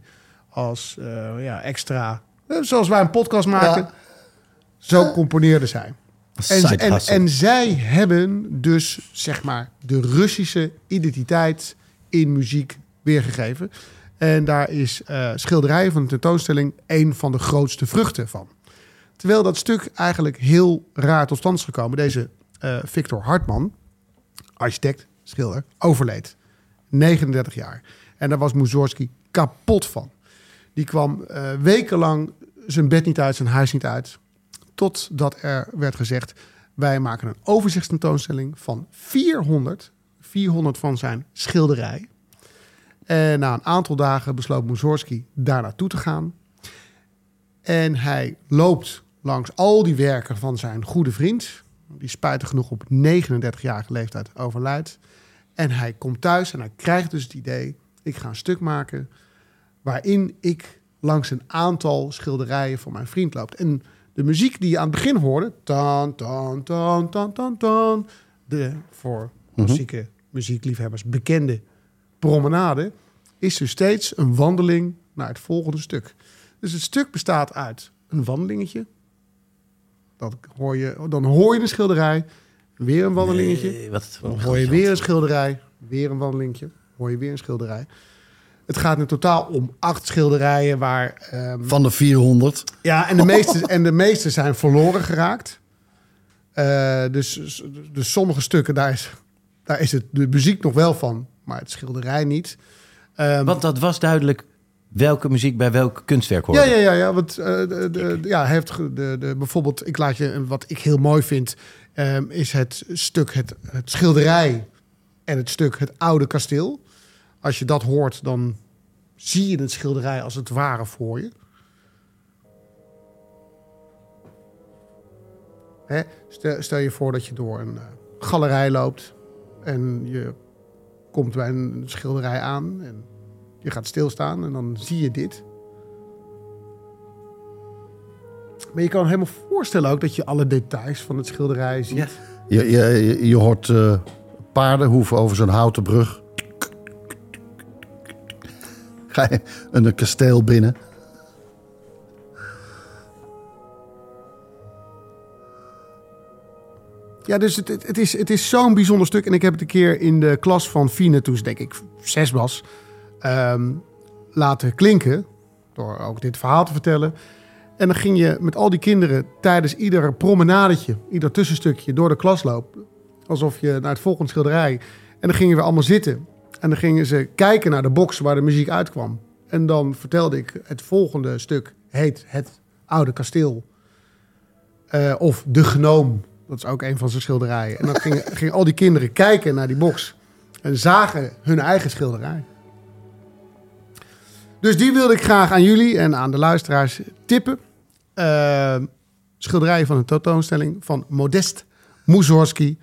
Speaker 4: als eh, ja, extra. Eh, Zoals wij een podcast maken,
Speaker 6: Ja.
Speaker 4: zo componeerden zij. En,
Speaker 5: Side
Speaker 4: en,
Speaker 5: hustle.
Speaker 4: en zij hebben dus, zeg maar, de Russische identiteit in muziek weergegeven. En daar is eh schilderijen van de tentoonstelling een van de grootste vruchten van. Terwijl dat stuk eigenlijk heel raar tot stand is gekomen. Deze eh, Victor Hartman, architect, schilder, overleed. 39 jaar. En daar was Mussorgsky kapot van. Die kwam eh, wekenlang zijn bed niet uit, zijn huis niet uit. Totdat er werd gezegd, wij maken een overzichtstentoonstelling van 400. 400 van zijn schilderij. En na een aantal dagen besloot Mussorgsky daar naartoe te gaan. En hij loopt langs al die werken van zijn goede vriend. Die spijtig genoeg op 39-jarige leeftijd overlijdt. En hij komt thuis en hij krijgt dus het idee... ik ga een stuk maken waarin ik langs een aantal schilderijen van mijn vriend loop. En de muziek die je aan het begin hoorde... Tan, tan, tan, tan, tan, tan, de voor klassieke muziekliefhebbers bekende promenade... is dus steeds een wandeling naar het volgende stuk. Dus het stuk bestaat uit een wandelingetje. Dat hoor je, dan hoor je een schilderij. Weer een wandelingetje.
Speaker 5: Eh, wat,
Speaker 4: Dan hoor je weer een schilderij, weer een wandelingetje, hoor je weer een schilderij. Het gaat in totaal om acht schilderijen waar... ehm,
Speaker 6: Van de 400.
Speaker 4: ja, en de, meeste, en de meeste zijn verloren geraakt. Eh, dus, dus sommige stukken, daar is, daar is het, de muziek nog wel van, maar het schilderij niet. Ehm,
Speaker 5: Want dat was duidelijk welke muziek bij welk kunstwerk hoorde.
Speaker 4: ja, ja, ja, ja, want eh, de, de- ja, hij heeft ge- de, de, bijvoorbeeld, ik laat je, een- wat ik heel mooi vind, ehm, is het stuk, het, het schilderij en het stuk het oude kasteel. Als je dat hoort, dan zie je het schilderij als het ware voor je. Hè? Stel, stel je voor dat je door een eh, galerij loopt en je komt bij een schilderij aan en je gaat stilstaan en dan zie je dit. Maar je kan helemaal voorstellen ook dat je alle details van het schilderij ziet.
Speaker 6: Je, je, je- je hoort eh, paardenhoeven over zo'n houten brug. Ga je een een kasteel binnen.
Speaker 4: Ja, dus het, het, het is, het is zo'n bijzonder stuk. En ik heb het een keer in de klas van Fine, toen ze denk ik zes was, ehm, laten klinken. Door ook dit verhaal te vertellen. En dan ging je met al die kinderen tijdens ieder promenadetje, ieder tussenstukje door de klas lopen. Alsof je naar het volgende schilderij. En dan gingen we allemaal zitten. En dan gingen ze kijken naar de box waar de muziek uitkwam. En dan vertelde ik, het volgende stuk heet Het Oude Kasteel. Eh, of De Gnoom. Dat is ook een van zijn schilderijen. En dan gingen, gingen al die kinderen kijken naar die box. En zagen hun eigen schilderij. Dus die wilde ik graag aan jullie en aan de luisteraars tippen. Eh, schilderijen van een tentoonstelling van Modest Mussorgsky.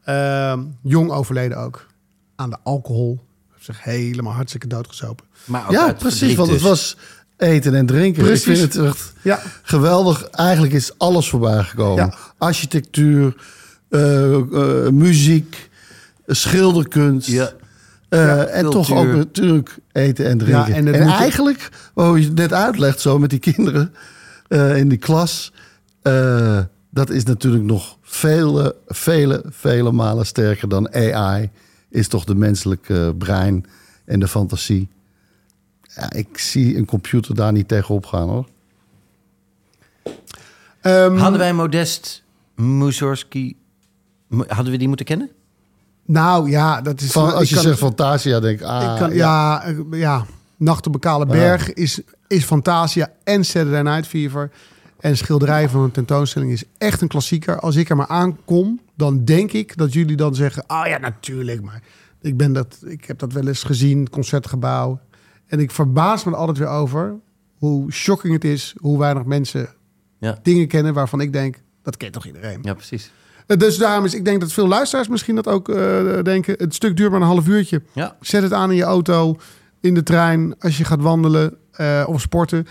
Speaker 4: Eh, jong overleden ook. Aan de alcohol. Heeft zich helemaal hartstikke doodgezopen.
Speaker 5: maar ook
Speaker 6: Ja,
Speaker 5: uit
Speaker 6: precies.
Speaker 5: verdriet
Speaker 6: Want het
Speaker 5: dus.
Speaker 6: was eten en drinken.
Speaker 4: Precies.
Speaker 6: Ik vind het echt
Speaker 4: Ja.
Speaker 6: geweldig. Eigenlijk is alles voorbij gekomen.
Speaker 4: Ja.
Speaker 6: Architectuur, eh, eh, muziek, schilderkunst.
Speaker 5: Ja.
Speaker 6: Eh,
Speaker 5: Ja,
Speaker 6: en toch ook
Speaker 5: cultuur.
Speaker 6: natuurlijk eten en drinken.
Speaker 4: Ja, en
Speaker 6: en
Speaker 4: het moet-
Speaker 6: eigenlijk, wat je het net uitlegt zo met die kinderen eh, in die klas... eh, dat is natuurlijk nog vele, vele, vele malen sterker dan AI. Is toch de menselijke brein en de fantasie. Ja, ik zie een computer daar niet tegenop gaan hoor.
Speaker 4: Ehm,
Speaker 5: Hadden wij Modest Mussorgsky... mo- Hadden we die moeten kennen?
Speaker 4: nou ja, dat is...
Speaker 6: Van,
Speaker 4: ik
Speaker 6: als je
Speaker 4: kan-
Speaker 6: zegt Fantasia, denk ik, ah,
Speaker 4: ik kan,
Speaker 6: ja.
Speaker 4: ja. eh, Ja, Nacht op Bekale Berg is, is Fantasia en Saturday Night Fever. En Schilderij van een tentoonstelling is echt een klassieker. Als ik er maar aankom, dan denk ik dat jullie dan zeggen... Oh ja, natuurlijk, maar ik, ben dat, ik heb dat wel eens gezien, het Concertgebouw. En ik verbaas me er altijd weer over hoe shocking het is... hoe weinig mensen
Speaker 5: Ja.
Speaker 4: dingen kennen waarvan ik denk... dat kent toch iedereen?
Speaker 5: Ja, precies.
Speaker 4: Eh, Dus daarom is, ik denk dat veel luisteraars misschien dat ook eh, denken. Het stuk duurt maar een half uurtje.
Speaker 5: Ja.
Speaker 4: Zet het aan in je auto, in de trein, als je gaat wandelen eh, of sporten.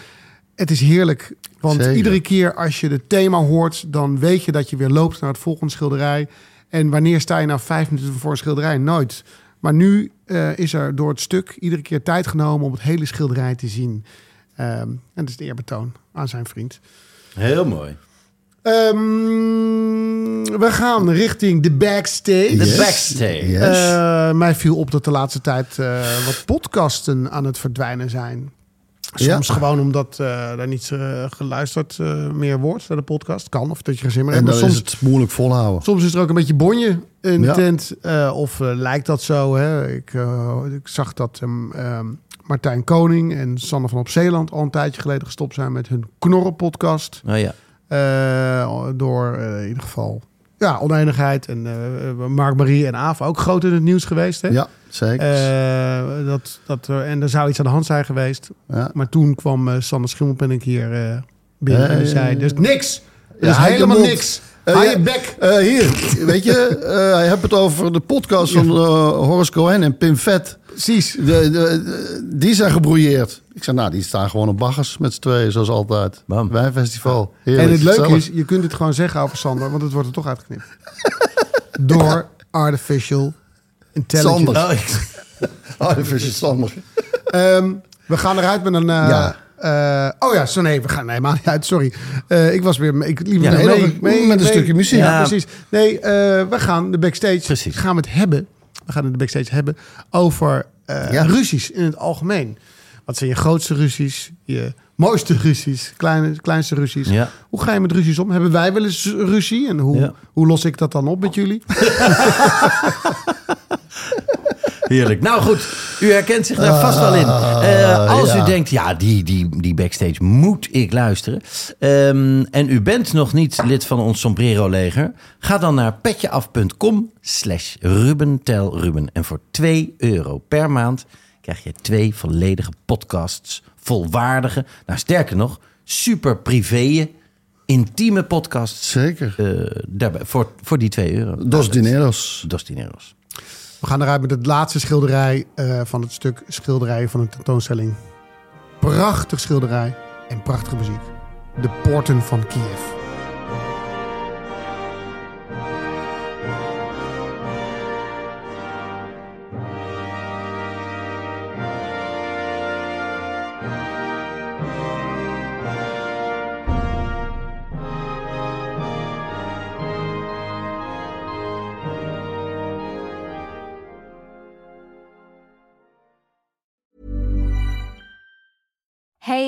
Speaker 4: Het is heerlijk, want
Speaker 6: Zeker.
Speaker 4: iedere keer als je het thema hoort, dan weet je dat je weer loopt naar het volgende schilderij. En wanneer sta je nou vijf minuten voor een schilderij? Nooit. Maar nu eh, is er door het stuk iedere keer tijd genomen om het hele schilderij te zien. Ehm, en dat is de eerbetoon aan zijn vriend.
Speaker 5: Heel mooi.
Speaker 4: Ehm, we gaan richting de
Speaker 5: De
Speaker 4: backstage.
Speaker 6: Yes.
Speaker 5: backstage.
Speaker 6: Yes.
Speaker 4: Eh, mij viel op dat de laatste tijd eh, wat podcasten aan het verdwijnen zijn. Soms
Speaker 6: Ja.
Speaker 4: gewoon omdat eh daar niet eh, geluisterd eh, meer wordt naar de podcast. Kan, of dat je geen zin meer
Speaker 6: en
Speaker 4: hebt.
Speaker 6: dan
Speaker 4: Maar soms,
Speaker 6: is het moeilijk volhouden.
Speaker 4: soms is er ook een beetje bonje in de
Speaker 6: Ja.
Speaker 4: tent. eh, of eh, lijkt dat zo. Hè? Ik, eh, ik zag dat ehm, ehm, Martijn Koning en Sanne van op Zeeland al een tijdje geleden gestopt zijn met hun knorren-podcast.
Speaker 5: Nou ja.
Speaker 4: Eh, door eh, in ieder geval ja, oneenigheid. En eh, Mark Marie en Aaf ook groot in het nieuws geweest. Hè?
Speaker 6: Ja, zeker.
Speaker 4: Eh, dat, dat er, en er zou iets aan de hand zijn geweest.
Speaker 6: Ja.
Speaker 4: Maar toen kwam eh, Sanne Schimmelpenninck hier eh, binnen en die
Speaker 6: Eh,
Speaker 4: zei... Dus niks! Er
Speaker 6: Ja,
Speaker 4: is
Speaker 6: houd je
Speaker 4: helemaal
Speaker 6: mond.
Speaker 4: niks!
Speaker 6: Eh,
Speaker 4: Hou
Speaker 6: ja,
Speaker 4: je bek!
Speaker 6: eh, hier, weet je, eh, hij hebt het over de podcast van eh, Horace Cohen en Pim Vet.
Speaker 4: Precies.
Speaker 6: De, de, de- die zijn gebrouilleerd. Ik zei, nou, die staan gewoon op baggers met z'n tweeën, zoals altijd.
Speaker 5: Bam.
Speaker 6: Wijnfestival.
Speaker 4: En
Speaker 6: Heerlijk.
Speaker 4: het leuke
Speaker 6: gezellig.
Speaker 4: is, je kunt het gewoon zeggen over Sander... want het wordt er toch uitgeknipt. Door artificial intelligence.
Speaker 6: Sander. Oh, dat is je Sander.
Speaker 4: Ehm, we gaan eruit met een, eh,
Speaker 6: Ja.
Speaker 4: Eh, oh ja, zo nee, we gaan nee, helemaal niet uit. Sorry. Eh, ik was weer. Ik liep
Speaker 5: Ja,
Speaker 4: nog
Speaker 5: nee,
Speaker 4: mee,
Speaker 5: met een stukje muziek.
Speaker 4: Ja,
Speaker 5: Ja.
Speaker 4: precies. Nee, eh, we gaan de backstage.
Speaker 5: Precies.
Speaker 4: Gaan we het hebben. We gaan het de backstage hebben over eh,
Speaker 5: Ja.
Speaker 4: ruzies in het algemeen. Wat zijn je grootste ruzies? Je mooiste ruzies? Kleine, kleinste ruzies?
Speaker 5: Ja.
Speaker 4: Hoe ga je met ruzies om? Hebben wij wel eens ruzie? En hoe,
Speaker 5: Ja.
Speaker 4: hoe los ik dat dan op met jullie?
Speaker 5: Heerlijk. Nou goed, u herkent zich daar vast wel in.
Speaker 6: Ah,
Speaker 5: Eh, als u denkt, ja, die, die, die backstage moet ik luisteren. Ehm, en u bent nog niet lid van ons Sombrero-leger. Ga dan naar petjeaf.com slash Ruben tel Ruben. En voor 2 euro per maand krijg je twee volledige podcasts. Volwaardige, nou sterker nog, super privéën, intieme podcasts.
Speaker 6: Zeker.
Speaker 5: eh, daarbij, voor, voor die 2 euro.
Speaker 6: Dos dineros.
Speaker 5: Dos dineros.
Speaker 4: We gaan eruit met het laatste schilderij eh, van het stuk schilderijen van de tentoonstelling. Prachtig schilderij en prachtige muziek. De poorten van Kiev.
Speaker 11: Hey,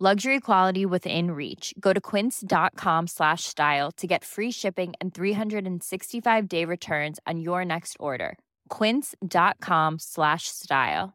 Speaker 11: Luxury quality within reach. Go to quince.com slash style to get free shipping and 365 day returns on your next order. Quince.com slash style.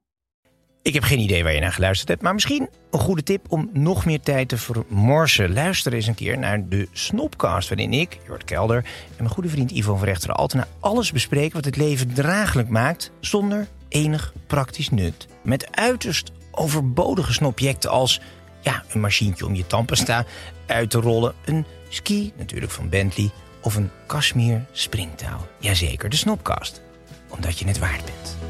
Speaker 12: Ik heb geen idee waar je naar geluisterd hebt, maar misschien een goede tip om nog meer tijd te vermorsen. Luister eens een keer naar de Snopcast, waarin ik, Jort Kelder en mijn goede vriend Ivo van Rechteren Altena alles bespreken wat het leven draaglijk maakt zonder enig praktisch nut. Met uiterst overbodige snobjecten als ja, een machientje om je tandpasta uit te rollen, een ski natuurlijk van Bentley of een Kashmir springtaal. Jazeker, de Snopcast, omdat je het waard bent.